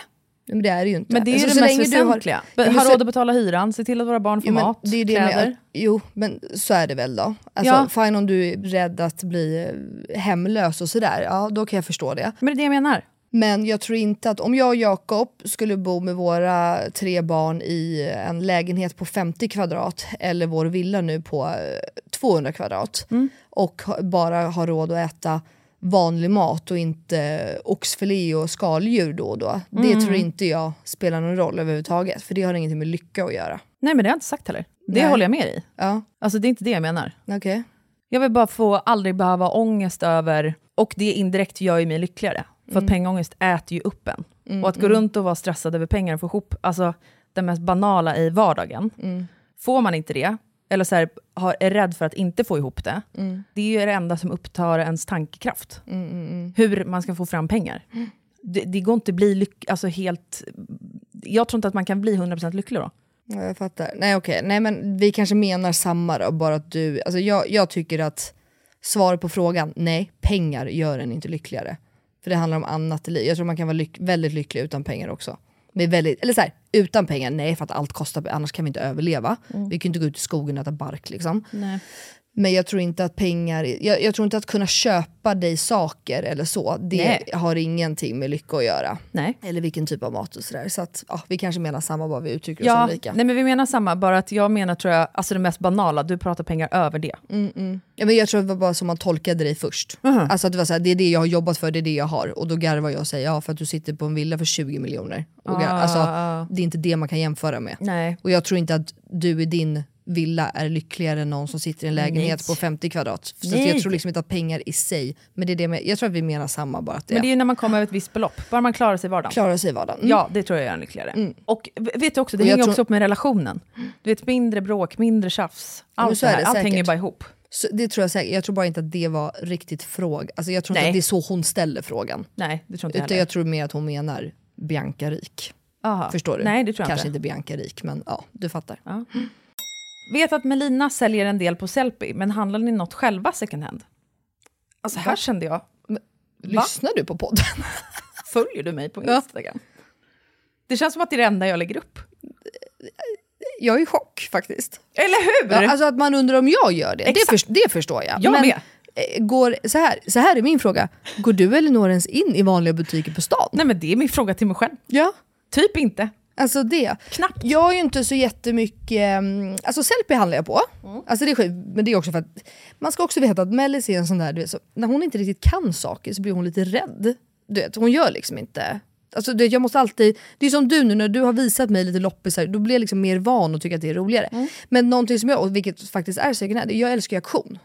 B: Men det är det ju inte.
C: Men det är ju
B: Alltså,
C: det
B: så
C: mest
B: länge du har-
C: väsentliga.
B: Ja,
C: Har,
B: men
C: har
B: så-
C: råd att betala hyran, se till att våra barn får
B: Jo, men
C: mat,
B: det är det med-
C: kläder.
B: jo, men så är det väl då. Alltså,
C: Ja.
B: Fine om du är rädd att bli eh, hemlös och sådär, ja då kan jag förstå det.
C: Men det är det jag menar.
B: Men jag tror inte att om jag och Jakob skulle bo med våra tre barn i en lägenhet på 50 kvadrat eller vår villa nu på eh, 200 kvadrat och ha- bara ha råd att äta vanlig mat och inte oxfilé och skaldjur då och då. Det tror inte jag spelar någon roll överhuvudtaget för det har ingenting med lycka att göra.
C: Nej, men det har jag inte sagt heller. Det
B: Nej.
C: håller jag med i.
B: Ja,
C: Alltså det är inte det jag menar.
B: okej.
C: Jag vill bara få aldrig behöva ha ångest över, och det indirekt gör ju mig lyckligare. För att pengaångest äter ju upp en. och att gå runt och vara stressad över pengar och få ihop, alltså det mest banala i vardagen. Får man inte det, eller så här, har, är rädd för att inte få ihop det, det är ju det enda som upptar ens tankekraft. Hur man ska få fram pengar. Det, det går inte att bli lyck, alltså helt... Jag tror inte att man kan bli 100% lycklig då.
B: Ja, jag fattar. Nej okej, nej men vi kanske menar samma då, bara att du, alltså jag, jag tycker att svaret på frågan, nej, pengar gör en inte lyckligare. För det handlar om annat i livet. Jag tror man kan vara lyck, väldigt lycklig utan pengar också. Men väldigt, eller så här, utan pengar, nej för att allt kostar, annars kan vi inte överleva. Vi kan ju inte gå ut i skogen och äta bark liksom. Men jag tror inte att pengar, jag, jag tror inte att kunna köpa dig saker eller så, det
C: Nej.
B: har ingenting med lycka att göra.
C: Nej.
B: Eller vilken typ av mat och sådär. Så att ja, vi kanske menar samma, bara vi uttrycker oss
C: Ja,
B: olika.
C: nej men vi menar samma, bara att jag menar tror jag, alltså det mest banala, du pratar pengar över det.
B: Mm, Ja, men jag tror det var bara som man tolkade dig först. Alltså att det var såhär, det är det jag har jobbat för, det är det jag har. Och då garvar jag och säger, ja för att du sitter på en villa för 20 miljoner. Och gar- alltså, det är inte det man kan jämföra med.
C: Ah. Nej.
B: Och jag tror inte att du i din villa är lyckligare än någon som sitter i en lägenhet på 50 kvadrat. Så att jag
C: Nej.
B: tror liksom inte att pengar i sig, men det är det med, jag tror att vi menar samma bara att det,
C: Men det är ju när man kommer över ett visst belopp, bara man klarar sig i vardagen.
B: klarar sig i vardagen. Mm.
C: Ja, det tror jag gör en lyckligare. Och v- vet du också, det
B: Och jag
C: hänger
B: tror-
C: också upp med relationen. Du vet, mindre bråk, mindre tjafs.
B: men
C: Allt
B: så
C: det
B: är
C: här,
B: det
C: allt
B: säkert.
C: hänger bara ihop.
B: Så det tror jag säkert. Jag tror bara inte att det var riktigt fråga. Alltså jag tror inte
C: Nej.
B: att det är så hon ställer frågan.
C: Nej, det tror inte
B: Utan
C: jag
B: jag tror mer att hon menar Bianca Rik.
C: Aha.
B: Förstår du?
C: Nej, det tror jag
B: Kanske
C: inte.
B: inte. Bianca Rik, men ja, du fattar.
C: Vet att Melina säljer en del på Sellpy, men handlar ni något själva second hand? Alltså här kände jag,
B: Lyssnar du på podden?
C: följer du mig på Instagram? Det känns som att det är det enda jag lägger upp.
B: Jag är i chock faktiskt.
C: Eller hur?
B: Ja, alltså att man undrar om jag gör det, det,
C: Exakt.
B: förs- det förstår jag.
C: Jag med.
B: eh, Går, så, här, så här är min fråga, går du eller några ens in i vanliga butiker på stan?
C: Nej men det är min fråga till mig själv.
B: Ja.
C: Typ inte.
B: Alltså det.
C: Knappt.
B: Jag har ju inte så jättemycket, ehm, alltså Sellpy handlar jag på. Alltså det är skit, men det är också för att man ska också veta att Mellis är en sån där, du vet, så, när hon inte riktigt kan saker så blir hon lite rädd. Du vet, hon gör liksom inte, alltså du vet, jag måste alltid, det är som du nu när du har visat mig lite loppisar, då blir jag liksom mer van och tycker att det är roligare. Men någonting som jag, och vilket faktiskt är second hand, jag älskar ju auktion.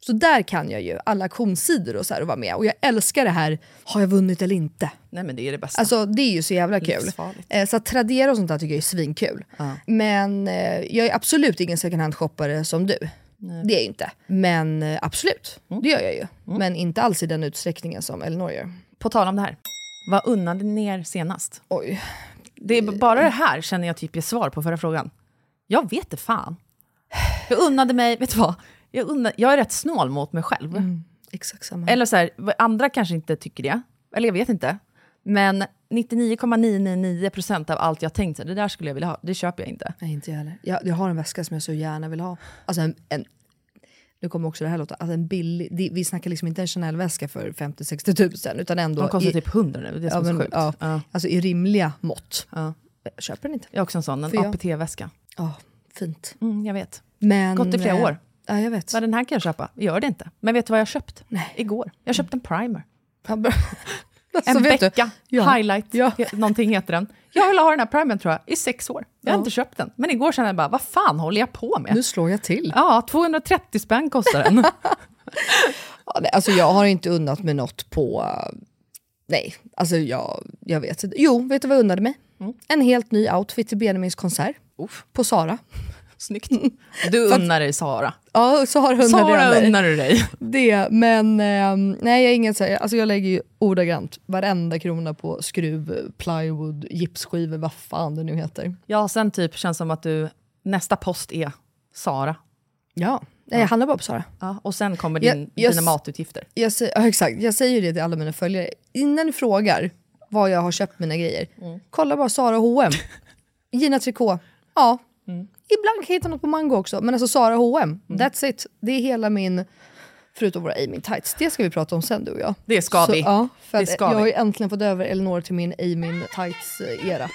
B: Så där kan jag ju alla auktionssidor och så här och vara med. Och jag älskar det här, har jag vunnit eller inte?
C: Nej men det är det bästa.
B: Alltså det är ju så jävla kul.
C: Livsfarligt.
B: Eh, Så att Tradera och sånt där tycker jag är svinkul. Men eh, jag är absolut ingen second hand-shoppare som du. Det är jag inte. Men eh, absolut, det gör jag ju. Men inte alls i den utsträckningen som Elinor gör.
C: på tal om det här. Vad unnade ni er senast?
B: Oj.
C: Det är bara det här känner jag typ ger svar på förra frågan. Jag vet det fan. Jag unnade mig, vet du vad? Mm. Jag, unna, jag är rätt snål mot mig själv.
B: Exakt samma.
C: Eller så här, vad- andra kanske inte tycker det. Eller jag vet inte. Men 99,999% av allt jag tänkt, så här, det där skulle jag vilja ha, det köper jag inte.
B: Nej inte jag heller. Jag, jag har en väska som jag så gärna vill ha. Alltså en, en nu kommer också det här låta, alltså en billig, det, vi snackar liksom inte en Chanel-väska för 50-60 tusen utan ändå
C: De kostar
B: i,
C: typ 100 nu, det
B: ja,
C: är som är så
B: men,
C: sjukt.
B: ja,
C: Ja.
B: Alltså i rimliga mått. Jag köper den inte.
C: Jag har också en sån, en
B: För jag-
C: APT-väska.
B: Ja, fint.
C: Mm, jag vet.
B: Men,
C: Gått i flera
B: eh,
C: år.
B: Ja, jag vet.
C: Men den här kan jag köpa, jag gör det inte. Men vet du vad jag har köpt? Igår. Jag köpte en primer.
B: Fan, bra.
C: En
B: Så Alltså, vet du.
C: Becka
B: Ja.
C: highlight, he- någonting heter den. Jag vill ha den här primern tror jag, i sex år. Jag har inte köpt den. Men igår kände jag bara, vad fan håller jag på med?
B: Nu slår jag till.
C: Ja, 230 spänn kostar den.
B: Ja, nej, alltså jag har inte unnat mig något på... eh, Nej, alltså jag, jag vet inte. Jo, vet du vad jag unnade mig?
C: Mm.
B: En helt ny outfit till Benjamins konsert. På Sara.
C: Snyggt. Du unnar dig Sara.
B: Ja, Sara unnade jag
C: Sara
B: mig
C: unnar du dig.
B: det. Men ehm, nej, jag är ingen så här, alltså jag lägger ju ordagrant varenda krona på skruv, plywood, gipsskivor, vad fan det nu heter.
C: Ja, sen typ känns som att du, nästa post är Sara.
B: Ja, nej, jag handlar bara på Sara.
C: Ja, och sen kommer
B: Jag-
C: din,
B: jag
C: dina
B: s-
C: matutgifter.
B: Jag säger, ja, exakt, jag säger ju det till alla mina följare. Innan ni frågar vad jag har köpt mina grejer,
C: Mm.
B: kolla bara Sara H&M. Gina Tricot, ja.
C: Mm.
B: Ibland kan jag hitta något på Mango också, men alltså Sara H&M, that's it. Det är hela min, förutom våra Amy Tights, det ska vi prata om sen du och jag.
C: Det ska
B: Så,
C: vi.
B: Ja, för
C: Det
B: att
C: ska
B: jag
C: vi.
B: har ju äntligen fått över Elinor till min Amy Tights-era.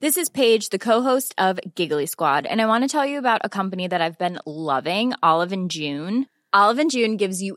F: This is Paige, the co-host of Giggly Squad, and I want to tell you about a company that I've been loving, Olive and June. Olive and June gives you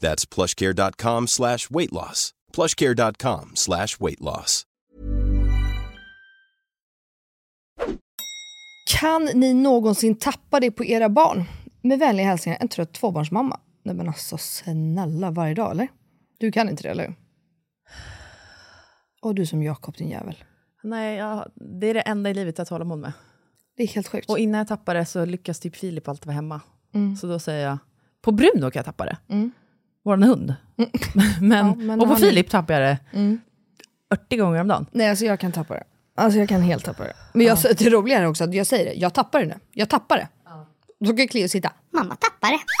A: That's plushcare.com slash weight loss. Plushcare.com slash weight loss.
B: Kan ni någonsin tappa det på era barn? Med vänliga hälsningar, en trött tvåbarnsmamma. Nej men alltså snälla, varje dag eller? Du kan inte det eller hur? Och du som Jakob din jävel.
C: Nej, jag, det är det enda i livet jag har tålamod med.
B: Det är helt sjukt.
C: Och innan jag tappar det så lyckas typ Filip alltid vara hemma. Så då säger jag, på Bruno kan jag tappa det. Mm. Vår hund. men, Mm.
B: Ja, men
C: och på
B: har ni-
C: Filip tappar jag det 80 gånger om dagen.
B: Nej alltså jag kan tappa det. Alltså jag kan helt tappa det. Men jag, det roliga är också att jag säger det, jag tappar det nu. Jag tappar det. Då kan Cleo sitta.
E: Mamma tappar det.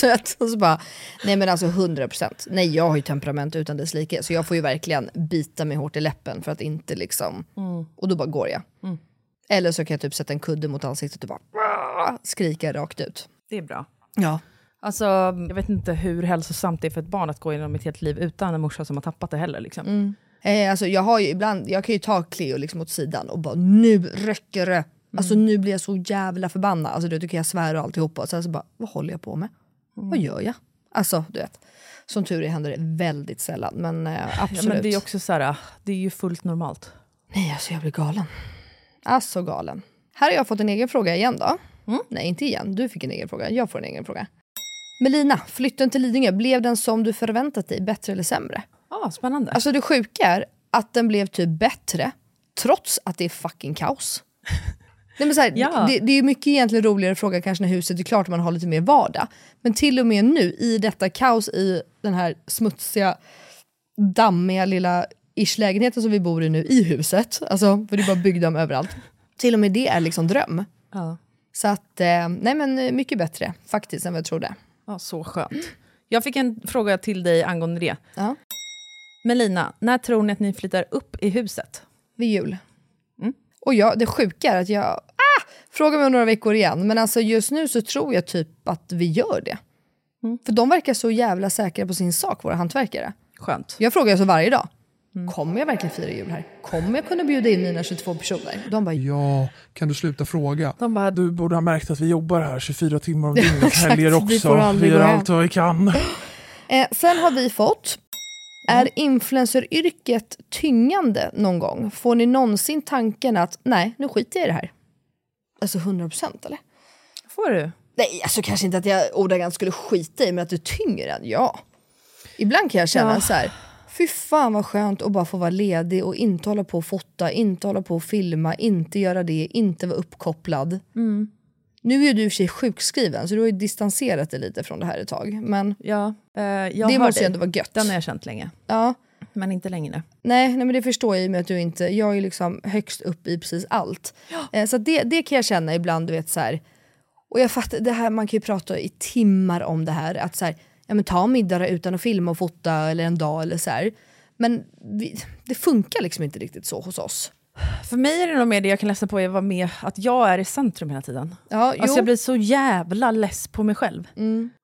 B: Du vet, och så bara, nej men alltså 100%. Nej jag har ju temperament utan dess like. Så jag får ju verkligen bita mig hårt i läppen för att inte liksom,
C: Mm.
B: och då bara går jag. Eller så kan jag typ sätta en kudde mot ansiktet och bara skrika rakt ut.
C: Det är bra.
B: Ja.
C: Alltså, jag vet inte hur hälsosamt det är för ett barn att gå igenom ett helt liv utan en morsa som har tappat det heller. Liksom.
B: Eh, alltså jag har ju ibland, jag kan ju ta Cleo liksom åt sidan och bara nu räcker
C: Mm.
B: det. Alltså nu blir jag så jävla förbannad. Alltså du, du kan jag svära och alltihopa. Och sen så bara, vad håller jag på med?
C: Mm.
B: Vad gör jag? Alltså du vet. Som tur är händer det väldigt sällan. Men eh,
C: Ja,
B: absolut.
C: men det är också så här, ah, det är ju fullt normalt.
B: Nej, alltså jag blir galen. Alltså galen. Här har jag fått en egen fråga igen då. Nej, inte igen. Du fick en egen fråga. Jag får en egen fråga. Melina, flytten till Lidingö, blev den som du förväntat dig? Bättre eller sämre?
C: Ah, spännande.
B: Alltså det sjuka är att den blev typ bättre, trots att det är fucking kaos. Nej, men så här,
C: Ja.
B: det, det är mycket egentligen roligare att fråga kanske när huset är klart och man har lite mer vardag. Men till och med nu, i detta kaos i den här smutsiga, dammiga lilla ish-lägenheten som vi bor i nu, i huset, alltså, för det är bara byggdamm överallt. Till och med det är liksom dröm.
C: Ja.
B: Så att, eh, nej men eh, mycket bättre faktiskt än vad jag trodde.
C: Ja, så skönt. Jag fick en fråga till dig angående det.
B: Ja.
C: Melina, när tror ni att ni flyttar upp i huset?
B: vid jul. Mm. Och jag, det sjuka är att jag... Ah! Fråga mig om några veckor igen, men alltså just nu så tror jag typ att vi gör det. För de verkar så jävla säkra på sin sak, våra hantverkare.
C: Skönt.
B: Jag frågar alltså varje dag. Kommer jag verkligen fira jul här? Kommer jag kunna bjuda in mina 22 personer? De bara,
G: Ja, kan du sluta fråga?
C: De bara,
G: Du borde ha märkt att vi jobbar här 24 timmar om dygnet,
B: Exakt,
G: helger
B: vi
G: också.
B: får aldrig
G: vi gör
B: gå
G: allt vad vi kan.
B: Eh, sen har vi fått, är influenceryrket tyngande någon gång? Får ni någonsin tanken att nej, nu skiter jag i det här? Alltså 100% eller?
C: får du?
B: Nej, alltså kanske inte att jag ordagrant skulle skita i, men att du tynger en, ja. Ibland kan jag känna så här, fy fan vad skönt att bara få vara ledig och inte hålla på och fota, inte hålla på och filma, inte göra det, inte vara uppkopplad. Nu är ju du i och för sig sjukskriven, så du har ju distanserat dig lite från det här ett tag. Men
C: Ja, eh, jag
B: det
C: hör
B: måste ju
C: dig.
B: ändå vara gött.
C: Den har jag känt länge,
B: ja.
C: men inte längre nu.
B: Nej, nej, men det förstår jag i och med att du inte... Jag är ju liksom högst upp i precis allt. Eh, Så att det, det kan jag känna ibland, du vet så här... Och jag fattar, det här, man kan ju prata i timmar om det här. Att så här, ja, men ta middagar utan att filma och fota eller en dag eller så här. Men vi, det funkar liksom inte riktigt så hos oss.
C: För mig är det nog mer det jag kan läsa på, är att vara med, att jag är i centrum hela tiden.
B: Ja,
C: Alltså
B: jo.
C: jag blir så jävla less på mig själv.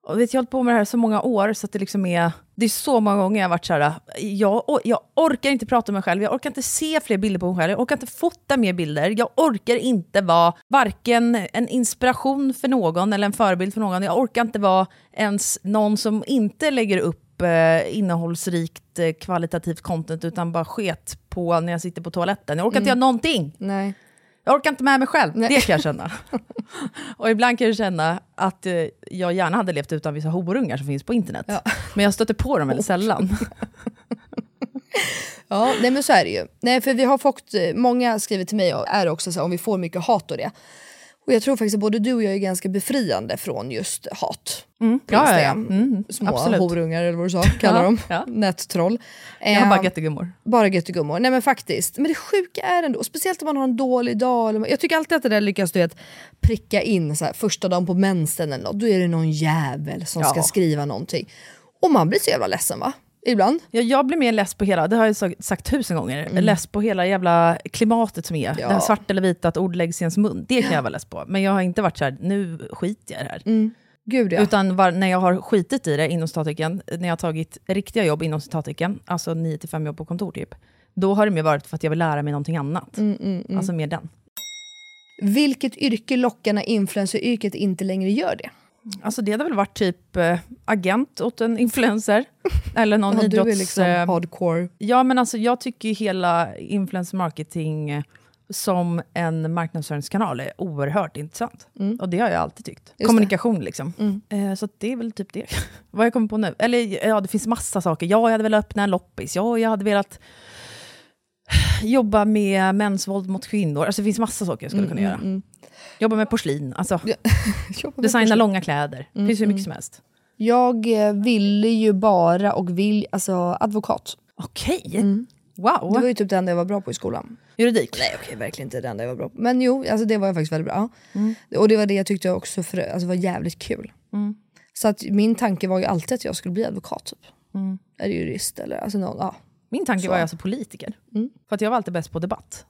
C: Och vet, jag har hållit på med det här så många år, så att det liksom är... Det är så många gånger jag har varit så här, jag, or- jag orkar inte prata om mig själv, jag orkar inte se fler bilder på mig själv, jag orkar inte fota mer bilder, jag orkar inte vara varken en inspiration för någon eller en förebild för någon, jag orkar inte vara ens någon som inte lägger upp eh, innehållsrikt, eh, kvalitativt content, utan bara sket på när jag sitter på toaletten. Jag orkar inte göra någonting.
B: Nej.
C: Jag orkar inte med mig själv,
B: Nej.
C: det kan jag känna. och ibland kan jag känna att eh, jag gärna hade levt utan vissa horungar som finns på internet.
B: Ja.
C: Men jag stöter på dem väldigt sällan.
B: Ja, nej men så är det ju. Nej, för vi har fått, eh, många skriver till mig och är också så här, om vi får mycket hat och det. Och jag tror faktiskt att både du och jag är ganska befriande från just hat. på
C: Ja, ja, ja.
B: Instagram.
C: Mm,
B: Små
C: absolut.
B: horungar eller vad du sa, kallar
C: Ja,
B: dem.
C: ja.
B: Nättroll.
C: Jag har
B: Ehm,
C: bara göttegummor.
B: bara göttegummor. Nej men faktiskt. Men det sjuka är ändå, speciellt om man har en dålig dag. Eller, jag tycker alltid att det där lyckas du vet, pricka in så här, första dagen på mensen eller något. Då är det någon jävel som
C: Ja.
B: ska skriva någonting. Och man blir så jävla ledsen va? Ibland.
C: Jag, jag blir mer less på hela, det har jag sagt, sagt tusen gånger, less på hela jävla klimatet som är.
B: Ja.
C: Det här svart eller vita, att ord läggs i ens mun. Det kan jag vara less på. Men jag har inte varit så här, nu skiter jag i det här.
B: Gud ja.
C: Utan var, när jag har skitit i det inom citattecken, när jag har tagit riktiga jobb inom citattecken, alltså 9-5 jobb på kontor typ, då har det mer varit för att jag vill lära mig någonting annat. Alltså mer den.
B: Vilket yrke lockar när influenceryrket inte längre gör det?
C: Alltså det hade väl varit typ eh, agent åt en influencer. Eller någon
B: Ja, du
C: idrotts...
B: är liksom
C: eh,
B: hardcore.
C: Ja, men alltså jag tycker ju hela influencer marketing eh, som en marknadsföringskanal är oerhört intressant. Och det har jag alltid tyckt.
B: Mm. det. Mm.
C: Kommunikation liksom. Eh, Så att det är väl typ det. Vad jag kommer på nu. Eller ja, det finns massa saker. Ja, jag hade velat öppna en loppis. Ja, jag hade velat jobba med mäns våld mot kvinnor. Alltså det finns massa saker jag skulle
B: Mm,
C: kunna göra. Jobba med porslin. Alltså,
B: Jobbar med
C: designa
B: porslin.
C: långa kläder. Det finns hur
B: Mm,
C: mycket som helst.
B: Jag eh, ville ju bara och vill, alltså advokat.
C: Okej.
B: Mm. Det var
C: Wow.
B: ju typ det enda jag var bra på i skolan.
C: Juridik.
B: Nej okej, verkligen inte det enda jag var bra på. Mm. Men jo, alltså det var jag faktiskt väldigt bra. Och det var det jag tyckte också för, alltså, var jävligt kul. Så att min tanke var ju alltid att jag skulle bli advokat typ. Eller jurist eller alltså någon, ja.
C: Min tanke var ju alltså politiker.
B: Mm.
C: För att jag var alltid bäst på debatt.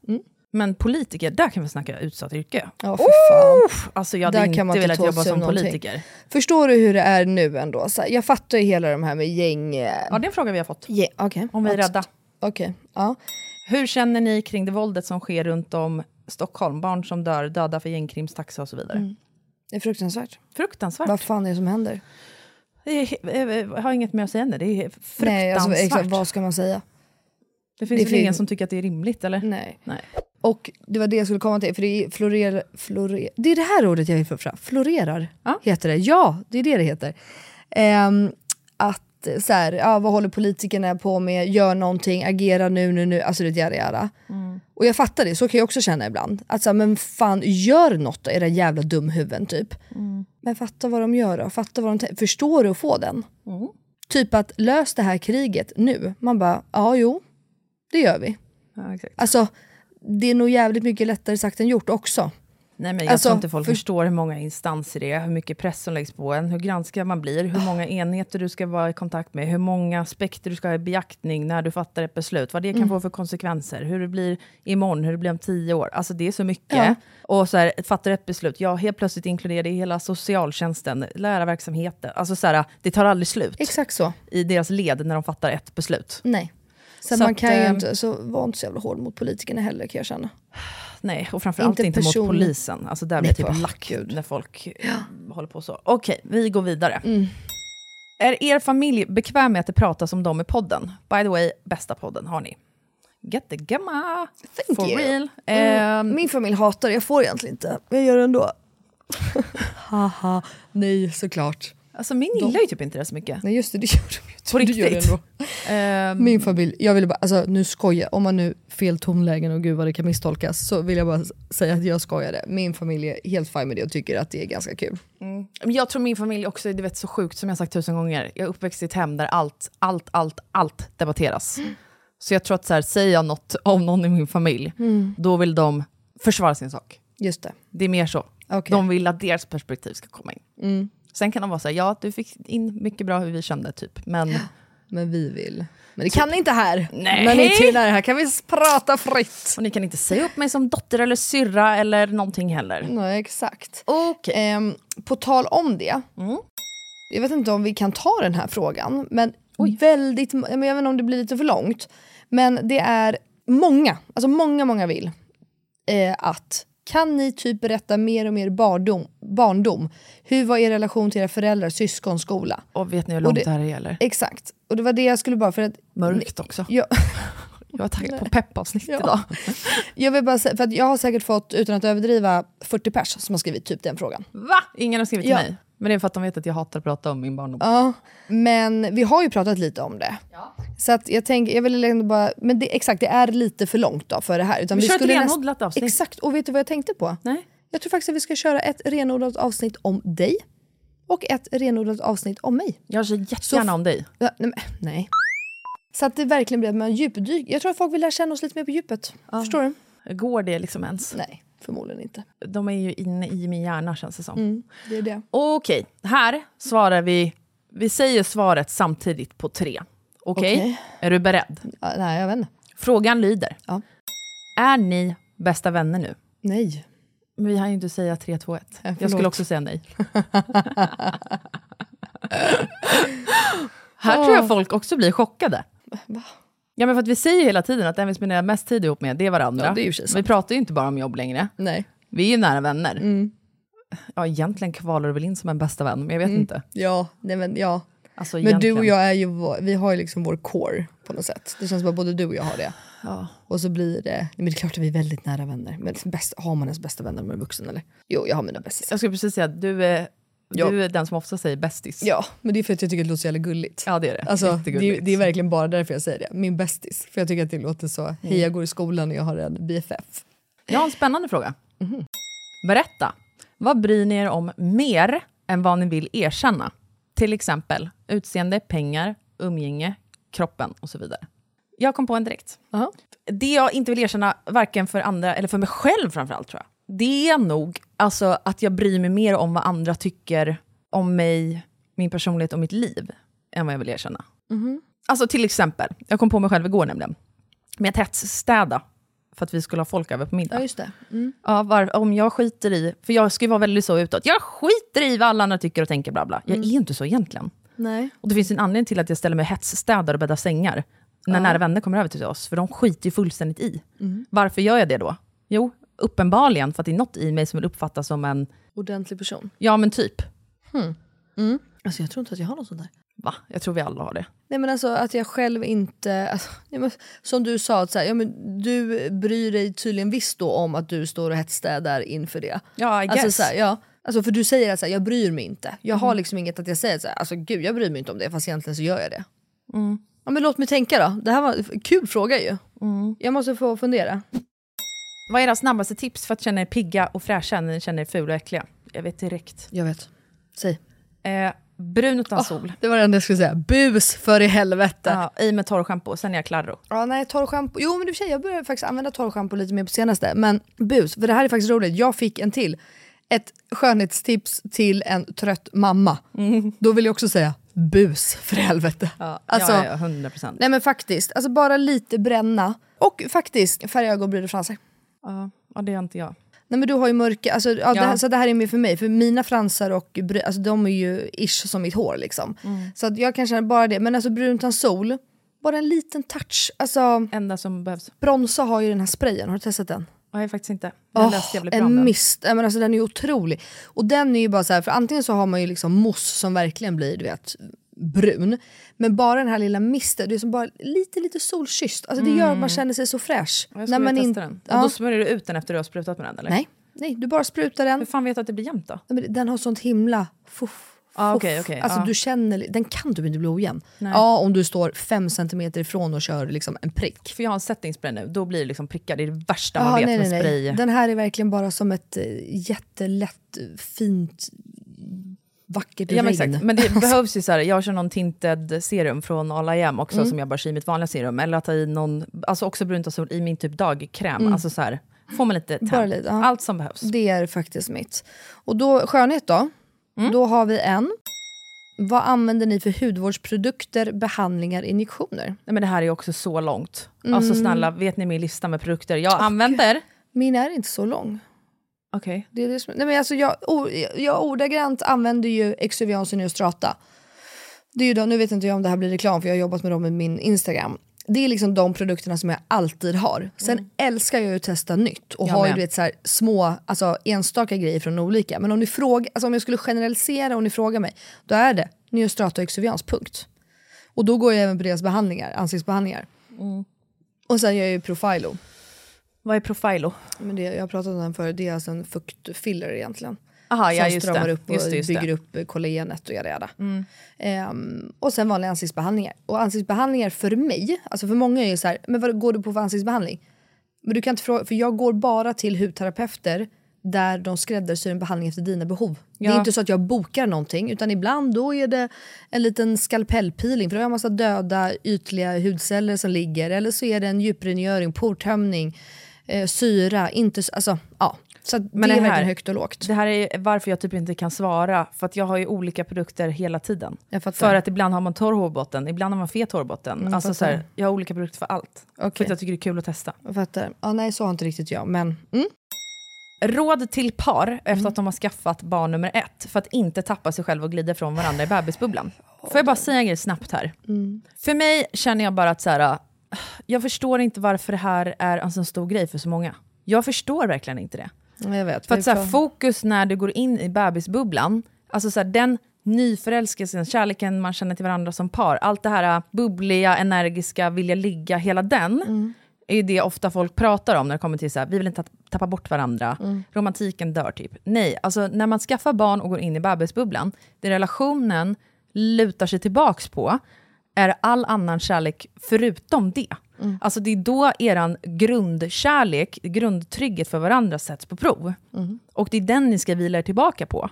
C: Men politiker, där kan vi snacka utsatt yrke.
B: Ja, för fan.
C: Uff, alltså jag hade
B: Där
C: inte
B: kan man inte
C: velat
B: ta
C: jobba
B: sig
C: som
B: någonting.
C: politiker.
B: Förstår du hur det är nu ändå? Så här, jag fattar ju hela de här med gäng... eh,
C: Ja, det är en fråga vi har fått.
B: gäng okej.
C: Om vi är
B: Att-
C: rädda.
B: Okej, ja.
C: Hur känner ni kring det våldet som sker runt om Stockholm? Barn som dör, döda för gängkrimstaxa och så vidare.
B: Mm. Det är fruktansvärt.
C: Fruktansvärt.
B: Vad fan är det som händer?
C: Det är- eh, Jag har inget mer att säga än det. Det är fruktansvärt.
B: Nej, alltså, exakt, vad ska man säga?
C: det finns
B: det
C: väl
B: fin-
C: ingen som tycker att det är rimligt, eller?
B: Nej.
C: Nej.
B: Och det var det jag skulle komma till, för det florerar... Flore, det är det här ordet jag vill få fram. Florerar
C: Ja.
B: heter det. Ja, det är det det heter. Ehm, att eh, så här, ja, vad håller politikerna på med? Gör någonting, agera nu, nu, nu. Alltså det är ett jära, jära.
C: Mm.
B: Och jag fattar det, så kan jag också känna ibland. Att så här, men fan, gör något då, era jävla dumhuvuden typ.
C: Mm.
B: Men fatta vad de gör då, fatta vad de tänker. Förstår du att få den?
C: Mm.
B: Typ att lös det här kriget nu. Man bara, ja jo, det gör vi.
C: Ja, exakt.
B: Alltså, det är nog jävligt mycket lättare sagt än gjort också.
C: Nej, men jag
B: Alltså,
C: tror inte folk
B: för-
C: förstår hur många instanser det är, hur mycket press som läggs på en, hur granskad man blir, hur
B: Ah.
C: många enheter du ska vara i kontakt med, hur många aspekter du ska ha i beaktning när du fattar ett beslut, vad det
B: Mm.
C: kan få för konsekvenser, hur det blir imorgon, hur det blir om tio år. Alltså det är så mycket.
B: Ja.
C: Och så här, fattar ett beslut, ja, helt plötsligt inkluderar det hela socialtjänsten, lärarverksamheten. Alltså så här, det tar aldrig slut
B: Exakt så.
C: i deras led när de fattar ett beslut.
B: Nej. Sen
C: Så
B: man
C: att,
B: kan ju
C: ehm,
B: inte, så var inte så jävla hård mot politikerna heller kan jag känna.
C: Nej, och framförallt
B: Inte
C: inte, inte
B: person-
C: mot polisen. Alltså där blir jag
B: Nej, åh,
C: typ lack när folk eh, håller på så. Okej, vi går vidare.
B: Mm.
C: Är er familj bekväm med att det pratas om dem i podden? By the way, bästa podden har ni. Get the gamma!
B: Thank
C: For
B: you.
C: real. Ehm,
B: Mm. Min familj hatar det, jag får egentligen inte. Men jag gör det ändå. Haha, nej såklart.
C: alltså min gillar ju typ inte det så mycket.
B: Nej just det, det gör de ju.
C: På
B: Du gör det
C: riktigt.
B: ändå.
C: Ehm,
B: Min familj, jag ville bara, alltså nu skoja, om man nu fel tonlägen och gud vad det kan misstolkas så vill jag bara s- säga att jag skojade. Min familj är helt fine med det och tycker att det är ganska kul.
C: Men Jag tror min familj också är du vet, så sjukt, som jag sagt tusen gånger. Jag är uppväxt i ett hem där allt, allt, allt, allt debatteras. Så jag tror att så här, säger jag något om någon i min familj,
B: Mm.
C: då vill de försvara sin sak.
B: Just det.
C: Det är mer så.
B: Okej. Mm.
C: De vill att deras perspektiv ska komma in. Sen kan de vara så här, ja du fick in mycket bra hur vi kände typ, men
B: Men vi vill. Men det kan ni inte här.
C: Nej.
B: Men ni trillar, här kan vi s- prata fritt.
C: och ni kan inte säga upp mig som dotter eller syrra eller någonting heller.
B: Nej, exakt.
C: Mm. Okej. Mm.
B: Ehm, på tal om det. Jag vet inte om vi kan ta den här frågan, men väldigt, men jag vet inte om det blir lite för långt. Men det är många, alltså många, många vill eh, att kan ni typ berätta mer om er barndom, barndom? Hur var er relation till era föräldrar, syskon, skola?
C: Och vet ni hur
B: Och
C: långt
B: det-
C: det här gäller?
B: Exakt, och det var det jag skulle bara för att...
C: Mörkt också.
B: Jag,
C: Jag var taggad på peppavsnitt idag.
B: jag vill bara säga, för att jag har säkert fått, utan att överdriva, 40 pers som har skrivit typ den frågan.
C: Va? Ingen har skrivit till
B: Ja.
C: mig. Men det är för att de vet att jag hatar att prata om min barndom.
B: Ja, men vi har ju pratat lite om det. Så att jag tänker, jag vill ändå bara, men det, exakt det är lite för långt då för det här. Utan
C: Vi kör ett
B: skulle näst-
C: renodlat avsnitt.
B: Exakt, och vet du vad jag tänkte på?
C: Nej.
B: Jag tror faktiskt att vi ska köra ett renodlat avsnitt om dig och ett renodlat avsnitt om mig.
C: Jag kör jättegärna om dig.
B: Ja, nej, men, nej. Så att det verkligen blir att man djupdyker. Jag tror att folk vill lära känna oss lite mer på djupet. Förstår du?
C: Går det liksom ens?
B: Nej, förmodligen inte.
C: De är ju inne i min hjärna känns det som.
B: Mm. Det är det.
C: Okej, här svarar vi... Vi säger svaret samtidigt på tre. Okej?
B: Okej.
C: Är du beredd?
B: Ja, nej, jag vet inte.
C: Frågan lyder.
B: Ja.
C: Är ni bästa vänner nu? Eh,
B: Nej.
C: Men vi hann ju inte säga 3, 2, 1. Jag
B: förlåt.
C: skulle också säga nej. här tror jag folk också blir chockade.
B: Va?
C: Ja, men för att vi säger hela tiden att den vi spenderar mest tid ihop med, det är varandra.
B: Ja, det är ju i och för sig
C: vi pratar ju inte bara om jobb längre.
B: Nej.
C: Vi är ju nära vänner. ja, egentligen kvalar du väl in som en bästa vän, men jag vet
B: Mm.
C: inte.
B: Ja, nej men ja.
C: Alltså,
B: Men du
C: egentligen-
B: och jag är ju, vår- vi har ju liksom vår core på något sätt. Det känns som att både du och jag har det.
C: Ja.
B: Och så blir det, nej, men det är klart att vi är väldigt nära vänner. Men liksom bäst, har man ens bästa vänner när man är vuxen eller? Jo, jag har mina bästisar.
C: Jag skulle precis säga att du är,
B: Ja.
C: du är den som ofta säger bästis.
B: Ja, men det är för att jag tycker det låter så jävla gulligt.
C: Ja, det är det.
B: Alltså, det,
C: Jättegulligt.
B: det är verkligen bara därför jag säger det. Min bästis. För jag tycker att det låter så, hej jag går i skolan och jag har en BFF.
C: Jag har en spännande fråga. Berätta, vad bryr ni er om mer än vad ni vill erkänna? Till exempel utseende, pengar, umgänge, kroppen och så vidare. Jag kom på en direkt.
B: Aha.
C: Det jag inte vill erkänna, varken för andra eller för mig själv framförallt tror jag, det är nog alltså, att jag bryr mig mer om vad andra tycker om mig, min personlighet och mitt liv, än vad jag vill erkänna. Alltså till exempel, jag kom på mig själv igår nämligen, med att städa för att vi skulle ha folk över på middag.
B: just det. Mm.
C: Ja, var, om jag skiter i, för jag ska ju vara väldigt så utåt, jag skiter i vad alla andra tycker och tänker bla bla. Jag är ju inte så egentligen.
B: Nej.
C: Och det finns en anledning till att jag ställer mig och hetsstädar och bäddar sängar när nära vänner kommer över till oss, för de skiter ju fullständigt i. Varför gör jag det då? Jo, uppenbarligen för att det är något i mig som vill uppfattas som en,
B: Ordentlig person.
C: ja men typ,
B: Alltså jag tror inte att jag har någon sån där.
C: va? Jag tror vi alla har det.
B: Nej men alltså att jag själv inte, alltså, nej, men, som du sa, att så här, ja, men, du bryr dig tydligen visst då om att du står och hetsstädar inför det.
C: Ja, I
B: Alltså,
C: guess. Mm.
B: så här, ja. alltså för du säger att så här, jag bryr mig inte. Jag har liksom inget att jag säger så här, alltså gud jag bryr mig inte om det fast egentligen så gör jag det.
C: Mm.
B: Ja men låt mig tänka då, det här var kul fråga ju.
C: Mm.
B: Jag måste få fundera.
C: Vad är era snabbaste tips för att känna er pigga och fräscha när ni känner er fula och äckliga? Jag vet direkt.
B: Jag vet. Säg.
C: Eh, brun utan sol.
B: Det var det enda jag skulle säga, bus för i helvete.
C: Ja, I med torrschampo, sen är jag klarro.
B: Ja, nej, torrschampo. Jo, men i och för sig, jag började faktiskt använda torrschampo lite mer på senaste. Men bus, för det här är faktiskt roligt. Jag fick en till. Ett skönhetstips till en trött mamma. Då vill jag också säga bus, för helvete.
C: Mm. Ja,
B: Alltså,
C: ja, ja, 100 procent.
B: Nej men faktiskt, alltså bara lite bränna. Och faktiskt färga ögonbryn och fransar.
C: Ja, ja, det är inte jag.
B: Nej men du har ju mörka, alltså, ja, Det
C: Ja.
B: här, så det här är mer för mig, för mina fransar och bry, alltså, de är ju ish som mitt hår liksom.
C: Mm.
B: Så att jag kan känna bara det, men alltså brun utan sol, bara en liten touch. Alltså,
C: Enda som behövs.
B: Bronsa har ju den här sprayen, har du testat den?
C: Ja, jag har faktiskt inte. Jag
B: Åh,
C: läste jävligt bra om
B: en
C: den.
B: mist, Nej, men alltså, den är ju otrolig. Och den är ju bara så här, för antingen så har man ju liksom mousse som verkligen blir du vet, brun, men bara den här lilla misten, det är som bara lite lite solkysst. Alltså, det gör att man känner sig så fräsch.
C: Mm. Jag skulle
B: man
C: vilja
B: in-
C: testa den. Och
B: Ja.
C: då smörjer du ut den efter du har sprutat med den eller?
B: Nej, nej, du bara sprutar den.
C: Hur fan vet du att det blir jämnt då?
B: Nej, men Den har sånt himla fuff.
C: Ja,
B: fuff.
C: Ah, okej, okej,
B: alltså
C: ja.
B: du känner, den kan du inte bli ojämn. Ja, om du står fem centimeter ifrån och kör liksom en prick.
C: För jag har en settingspray nu, då blir det liksom prickar. Det är det värsta
B: Ja,
C: man vet
B: Ah, nej,
C: med
B: nej, nej.
C: spray.
B: Den här är verkligen bara som ett eh, jättelätt, eh, fint, vackert
C: Ja, men,
B: regn. Alltså.
C: exakt. men det behövs ju så här, jag kör någon tinted serum från All I Am också
B: Mm.
C: som jag bara kör i mitt vanliga serum. Eller att ta i någon, alltså också brunt och sol i min typ dagkräm. Alltså så här, får man lite
B: Mm. Bara
C: tan.
B: lite, ja.
C: Allt som behövs.
B: Det är faktiskt mitt. Och då, skönhet då?
C: Mm.
B: Då har vi en. Vad använder ni för hudvårdsprodukter, behandlingar, injektioner?
C: Nej, men det här är också så långt. Alltså
B: Mm.
C: snälla, vet ni min lista med produkter jag använder?
B: Min är inte så lång.
C: Okej.
B: Det är det som, nej men alltså jag, o- jag ordagrant använder ju Exuvians och Neostrata. Det är ju de, nu vet inte jag om det här blir reklam för jag har jobbat med dem i min Instagram. Det är liksom de produkterna som jag alltid har. Sen älskar jag ju att testa nytt och
C: Mm. Jag
B: har ju
C: med.
B: du vet, så här, små, alltså enstaka grejer från olika. Men om ni frågar, alltså om jag skulle generalisera och ni frågar mig, då är det Neostrata och Exuvians, punkt. Och då går jag även på deras behandlingar, ansiktsbehandlingar.
C: Mm.
B: Och sen gör jag ju Profilo.
C: Vad är Profilo?
B: Men det, jag har pratat om den förut, det är alltså en fuktfiller egentligen.
C: Aha,
B: som
C: ja, just
B: stramar
C: det.
B: upp och
C: Just det, Mm. just
B: bygger
C: det.
B: upp eh, kollagenet och göra det. Ehm, och sen vanliga ansiktsbehandlingar. Och ansiktsbehandlingar för mig, alltså för många är ju så här, men vad går du på för ansiktsbehandling? Men du kan inte fråga, för jag går bara till hudterapeuter där de skräddarsyr en behandling efter dina behov. Det är
C: Ja.
B: inte så att jag bokar någonting utan ibland då är det en liten skalpellpeeling för då har jag massa döda ytliga hudceller som ligger eller så är det en djuprengöring, portömning, eh, syra, inte s- alltså ja. Så att
C: Men
B: det är
C: det här-
B: verkligen högt och lågt.
C: Det här är varför jag typ inte kan svara, för att jag har ju olika produkter hela tiden.
B: Jag fattar. Mm,
C: För att ibland har man torr hårbotten, ibland har man fet hårbotten. alltså så här,
B: fattar.
C: jag har olika produkter för allt. För
B: Okej.
C: att jag tycker det är kul att testa.
B: Jag fattar. Ja, nej, så har inte riktigt jag. Men mm.
C: Råd till par efter att de har skaffat barn nummer ett, för att inte tappa sig själv och glida från varandra i bebisbubblan. Får jag bara säga en grej snabbt här?
B: Mm.
C: För mig känner jag bara att så här, jag förstår inte varför det här är en så stor grej för så många. Jag förstår verkligen inte det.
B: Jag vet.
C: För
B: vi
C: att så här,
B: får-
C: fokus när du går in i bebisbubblan, alltså så här, den nyförälskelsen, kärleken man känner till varandra som par, allt det här äh, bubbliga, energiska, vilja ligga, hela den, är ju det ofta folk pratar om när det kommer till så här, vi vill inte ta- tappa bort varandra, romantiken dör typ. Nej, alltså när man skaffar barn och går in i bebisbubblan, det relationen lutar sig tillbaks på, är all annan kärlek förutom det. Alltså det är då eran grundkärlek, grundtrygghet för varandra sätts på prov. Och det är den ni ska vila er tillbaka på.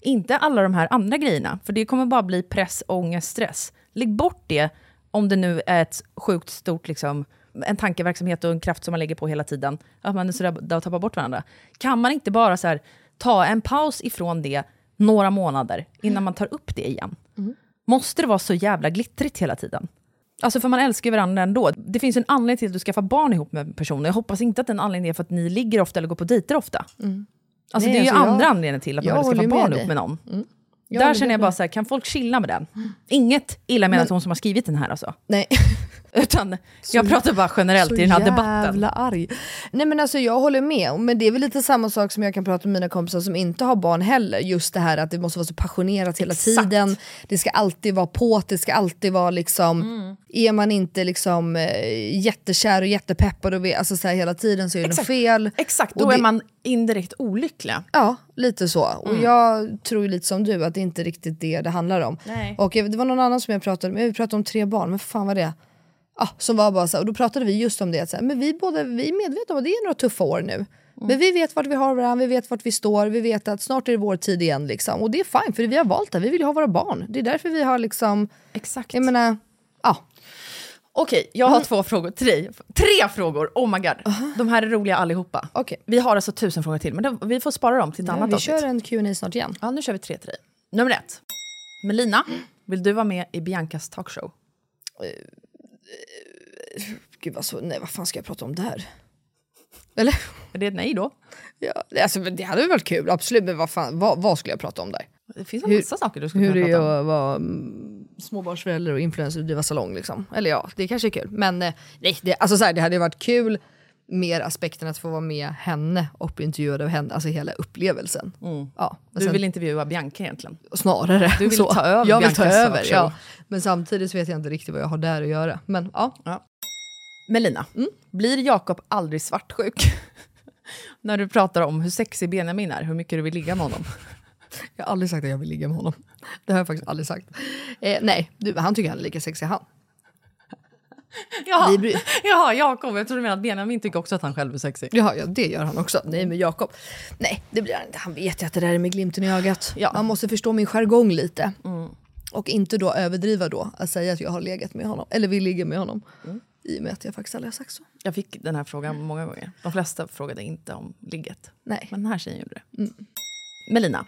C: Inte alla de här andra grejerna, för det kommer bara bli press, ångest, stress. Lägg bort det om det nu är ett sjukt stort, liksom, en tankeverksamhet och en kraft som man lägger på hela tiden. Att man är så rädd att tappa bort varandra. Kan man inte bara så här, ta en paus ifrån det några månader innan man tar upp det igen? Måste det vara så jävla glittrigt hela tiden? Alltså för man älskar ju varandra ändå. Det finns ju en anledning till att du skaffar barn ihop med personer. Jag hoppas inte att den anledningen är för att ni ligger ofta eller går på dejter ofta. Alltså
B: Mm. Nej,
C: det är ju
B: alltså jag-
C: andra anledningar till att
B: jag
C: man vill
B: håller
C: skaffa
B: med
C: barn
B: dig. Mm.
C: ihop med någon.
B: Jag
C: Där
B: håller
C: känner jag
B: med
C: bara
B: dig.
C: så här, kan folk chilla med den? Inget illa menat hon som har skrivit den här alltså.
B: Nej.
C: Utan jag pratar bara generellt i den här debatten.
B: jävla arg. Nej men alltså jag håller med, men det är väl lite samma sak som jag kan prata med mina kompisar som inte har barn heller. Just det här att det måste vara så passionerat hela tiden, det ska alltid vara på, det ska alltid vara liksom,
C: Mm.
B: är man inte liksom eh, jättekär och jättepeppad och vi, alltså så här hela tiden så är det något
C: Exakt.
B: fel.
C: Exakt,
B: Och det-
C: man indirekt olycklig.
B: Ja, lite så.
C: Mm.
B: Och jag tror ju lite som du att det inte är riktigt det det handlar om.
C: Nej.
B: Och jag- det var någon annan som jag pratade med, vi pratade om tre barn, men fan var det? Ah, som var bara så här, och då pratade vi just om det, att så här, men vi, båda, vi är medvetna om att det är några tuffa år nu.
C: Mm.
B: Men vi vet vart vi har varandra, vi vet vart vi står, vi vet att snart är det vår tid igen. Liksom. Och det är fine, för vi har valt det, vi vill ju ha våra barn. Det är därför vi har liksom,
C: Exakt.
B: jag menar, ja.
C: Okej, jag har två frågor till dig. Tre frågor! Oh my god. De här är roliga allihopa.
B: Okej.
C: Vi har alltså tusen frågor till, men de, vi får spara dem till ett annat
B: Vi
C: avsnitt.
B: kör en Q&A snart igen.
C: Ja, nu kör vi tre till dig. Nummer ett. Melina, vill du vara med i Biancas talkshow?
B: Gud vad så, nej vad fan ska jag prata om där? Eller?
C: Är det ett nej då?
B: Ja, alltså, men det hade väl varit kul, absolut. Men vad, fan, vad, vad skulle jag prata om där?
C: Det finns en
B: Hur-
C: massa saker du skulle
B: Hur
C: kunna
B: det
C: prata om.
B: är att vara mm, småbarnsförälder och influencer och driva salong. Liksom. Eller ja, det kanske är kul. Men eh, nej, det, alltså, så här, det hade ju varit kul mer aspekten att få vara med henne och bli intervjuad av henne, alltså hela upplevelsen. Ja, men
C: Mm. Du
B: sen-
C: vill intervjua Bianca egentligen?
B: Snarare.
C: Du vill ta över
B: Jag vill ta
C: Biancas
B: över,
C: talkshow.
B: ja. Men samtidigt så vet jag inte riktigt vad jag har där att göra. Men ja,
C: Melina, Mm. blir Jakob aldrig svartsjuk? När du pratar om hur sexig Benjamin är, hur mycket du vill ligga med honom.
B: jag har aldrig sagt att jag vill ligga med honom. Det har jag faktiskt aldrig sagt. Eh, nej, du, han tycker han är lika sexig han.
C: Jaha,
B: Vi bryr-
C: Jaha Jakob, jag trodde du menade att Benjamin tycker också att han själv är sexig.
B: Ja, ja, det gör han också. Nej, men Jakob. Nej, det blir han inte. Han vet ju att det där är med glimten i ögat.
C: Ja.
B: Man måste förstå min jargong lite. Och inte då överdriva då att säga att jag har legat med honom, eller vill ligga med honom. I och med att jag faktiskt aldrig har sagt så.
C: Jag fick den här frågan många gånger. De flesta frågade inte om ligget.
B: Nej. Mm.
C: Men den här tjejen gjorde det. Melina,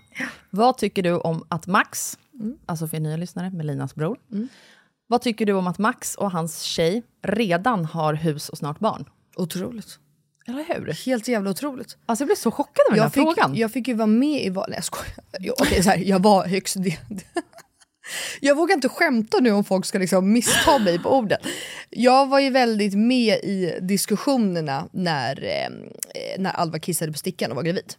C: vad tycker du om att Max,
B: Mm.
C: alltså för er nya lyssnare, Melinas bror. Vad tycker du om att Max och hans tjej redan har hus och snart barn?
B: Otroligt.
C: Eller hur?
B: Helt jävla otroligt.
C: Alltså jag blev så chockad över den här
B: Jag fick,
C: frågan.
B: jag fick ju vara med i valet. Nej jag skojar. Jo, okej, så här, jag var högst del. Jag vågar inte skämta nu om folk ska liksom missta mig på orden. Jag var ju väldigt med i diskussionerna när, eh, eh, när Alva kissade på stickan och var gravid.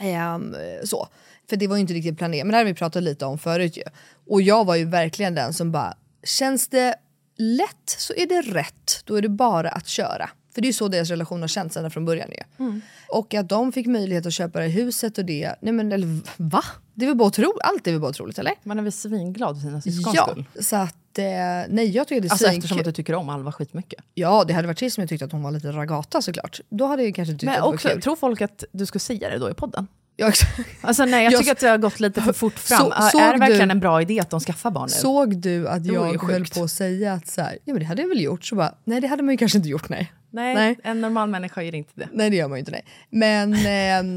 B: Ehm, eh, så. För det var ju inte riktigt planerat, men det här har vi pratat lite om förut ju. Och jag var ju verkligen den som bara, känns det lätt så är det rätt, då är det bara att köra. För det är ju så deras relation har känts ända från början ju.
C: Mm.
B: Och att de fick möjlighet att köpa det här huset och det, nej men eller va? Det är väl bara otroligt, allt är väl bara otroligt eller?
C: Man är väl svinglad för sina syskons
B: ja,
C: skull?
B: så att eh, nej jag tycker det är
C: Alltså
B: svinkul.
C: eftersom att du tycker om Alva skitmycket.
B: Ja det hade varit trist om jag tyckte att hon var lite ragata såklart. Då hade jag kanske tyckt att
C: Men
B: det var
C: också,
B: kul.
C: tror folk att du ska säga det då i podden?
B: Ja, exakt.
C: Alltså nej, jag
B: Jag-
C: tycker att det har gått lite för fort fram.
B: Så- såg
C: är det verkligen
B: du-
C: en bra idé att de skaffar barn nu?
B: Såg du att
C: vore
B: jag
C: ju
B: höll
C: sjukt.
B: på att säga att så här, ja, men det hade jag väl gjort? Så bara, nej det hade man ju kanske inte gjort nej.
C: Nej,
B: Nej.
C: en normal människa gör inte det.
B: Nej det gör man ju inte nej. Men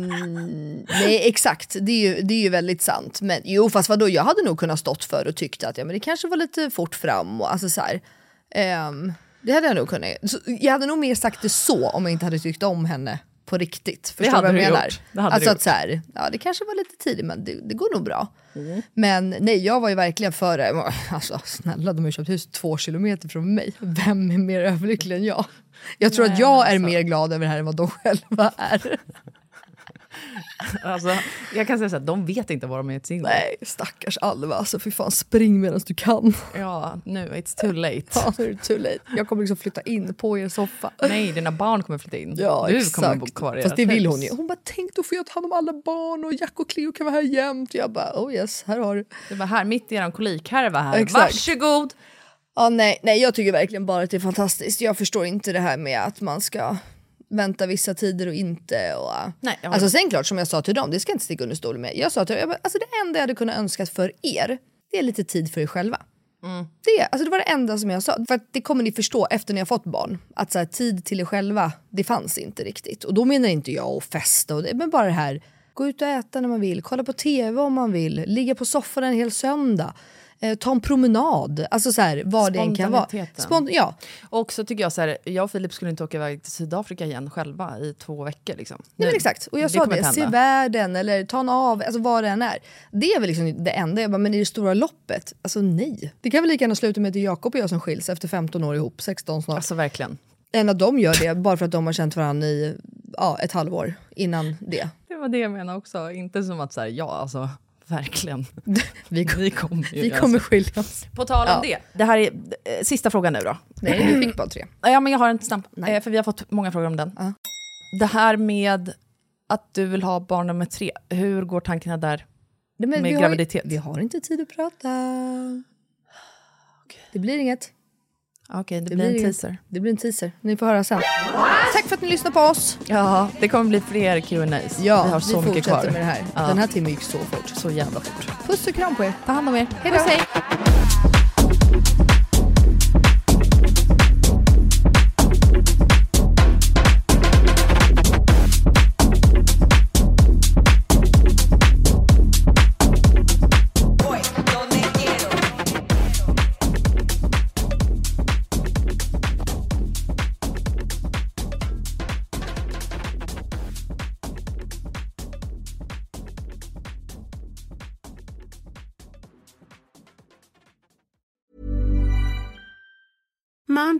B: ehm, nej exakt, det är, ju, det är ju väldigt sant. Men jo fast vadå, jag hade nog kunnat stått för och tyckt att ja, men det kanske var lite fort fram och alltså så här. ehm, det hade jag nog kunnat. Så, jag hade nog mer sagt det så om jag inte hade tyckt om henne på riktigt. Förstår du
C: hade
B: vad jag
C: du
B: menar?
C: gjort. Det hade
B: alltså
C: du
B: att så här, ja det kanske var lite tidigt men det, det går nog bra. Men nej jag var ju verkligen för, det. alltså snälla de har ju köpt hus två kilometer från mig. Vem är mer alltså- överlycklig än jag? Jag tror att jag är mer glad över det här än vad de själva är.
C: Alltså, jag kan säga så här, de vet inte vad de är till sin
B: Nej, stackars Alva. Alltså fy fan, spring medan du kan.
C: Ja, nu, it's too late.
B: Ja, nu är det too late. Jag kommer liksom flytta in på er soffa.
C: Nej, dina barn kommer flytta in.
B: Ja,
C: du
B: exakt.
C: kommer bo kvar i
B: Fast
C: ert
B: det vill
C: hus.
B: hon ju. Hon bara, tänk då får jag ta hand om alla barn och Jack och Cleo kan vara här jämt. Jag bara, oh yes, här har du.
C: Det var här, mitt i eran kolikhärva här.
B: Exakt.
C: Varsågod!
B: Ja, nej, nej, jag tycker verkligen bara att det är fantastiskt. Jag förstår inte det här med att man ska vänta vissa tider och inte. Och,
C: Nej, jag håller
B: alltså sen klart som jag sa till dem, det ska jag inte sticka under stol med. Jag sa till dem, jag bara, alltså det enda jag hade kunnat önska för er, det är lite tid för er själva. Det, alltså det var det enda som jag sa. För att det kommer ni förstå efter ni har fått barn. Att så här, tid till er själva, det fanns inte riktigt. Och då menar inte jag att festa och det, men bara det här. Gå ut och äta när man vill, kolla på tv om man vill, ligga på soffan en hel söndag. Eh, ta en promenad, alltså så här, vad det än kan vara.
C: Spontaniteten.
B: Spont- ja.
C: Och så tycker jag så här, jag och Filip skulle inte åka iväg till Sydafrika igen själva i två veckor. Liksom.
B: Nej,
C: Nu.
B: men exakt. Och jag sa
C: kommer
B: det,
C: inte
B: se
C: hända.
B: världen eller ta en av, alltså vad det än är. Det är väl liksom det enda. Jag bara, men i det stora loppet, alltså nej. Det kan väl lika gärna sluta med att det är Jakob och jag som skiljs efter 15 år ihop, 16 snart.
C: Alltså verkligen.
B: än att de gör det bara för att de har känt varandra i ja, ett halvår innan det.
C: Det var det jag menade också. Inte som att så här, ja alltså, verkligen.
B: Vi,
C: Vi kommer ju
B: vi
C: göra
B: kommer
C: så.
B: skiljas.
C: På tal om
B: Ja.
C: det. Det här är eh, sista frågan nu då.
B: Nej, vi fick bara tre.
C: Ja, men jag har en snabb, eh, för vi har fått många frågor om den.
B: Ja.
C: Det här med att du vill ha barn nummer tre, hur går tankarna där?
B: Nej,
C: Med
B: vi har ju-
C: graviditet.
B: vi har inte tid att prata. Det blir inget.
C: Okej, det,
B: Ah, Det
C: blir en
B: inget.
C: teaser.
B: Det blir en teaser. Ni får höra sen. Tack för att ni lyssnar på oss.
C: Ja, det kommer bli fler Q&As.
B: Ja,
C: vi har så mycket
B: fortsätter
C: kvar.
B: med det här.
C: Ja.
B: Den här timmen gick så fort.
C: Så jävla fort.
B: Puss och kram på er.
C: Ta hand om er.
B: Hej då.
C: Puss, hej.
H: Mom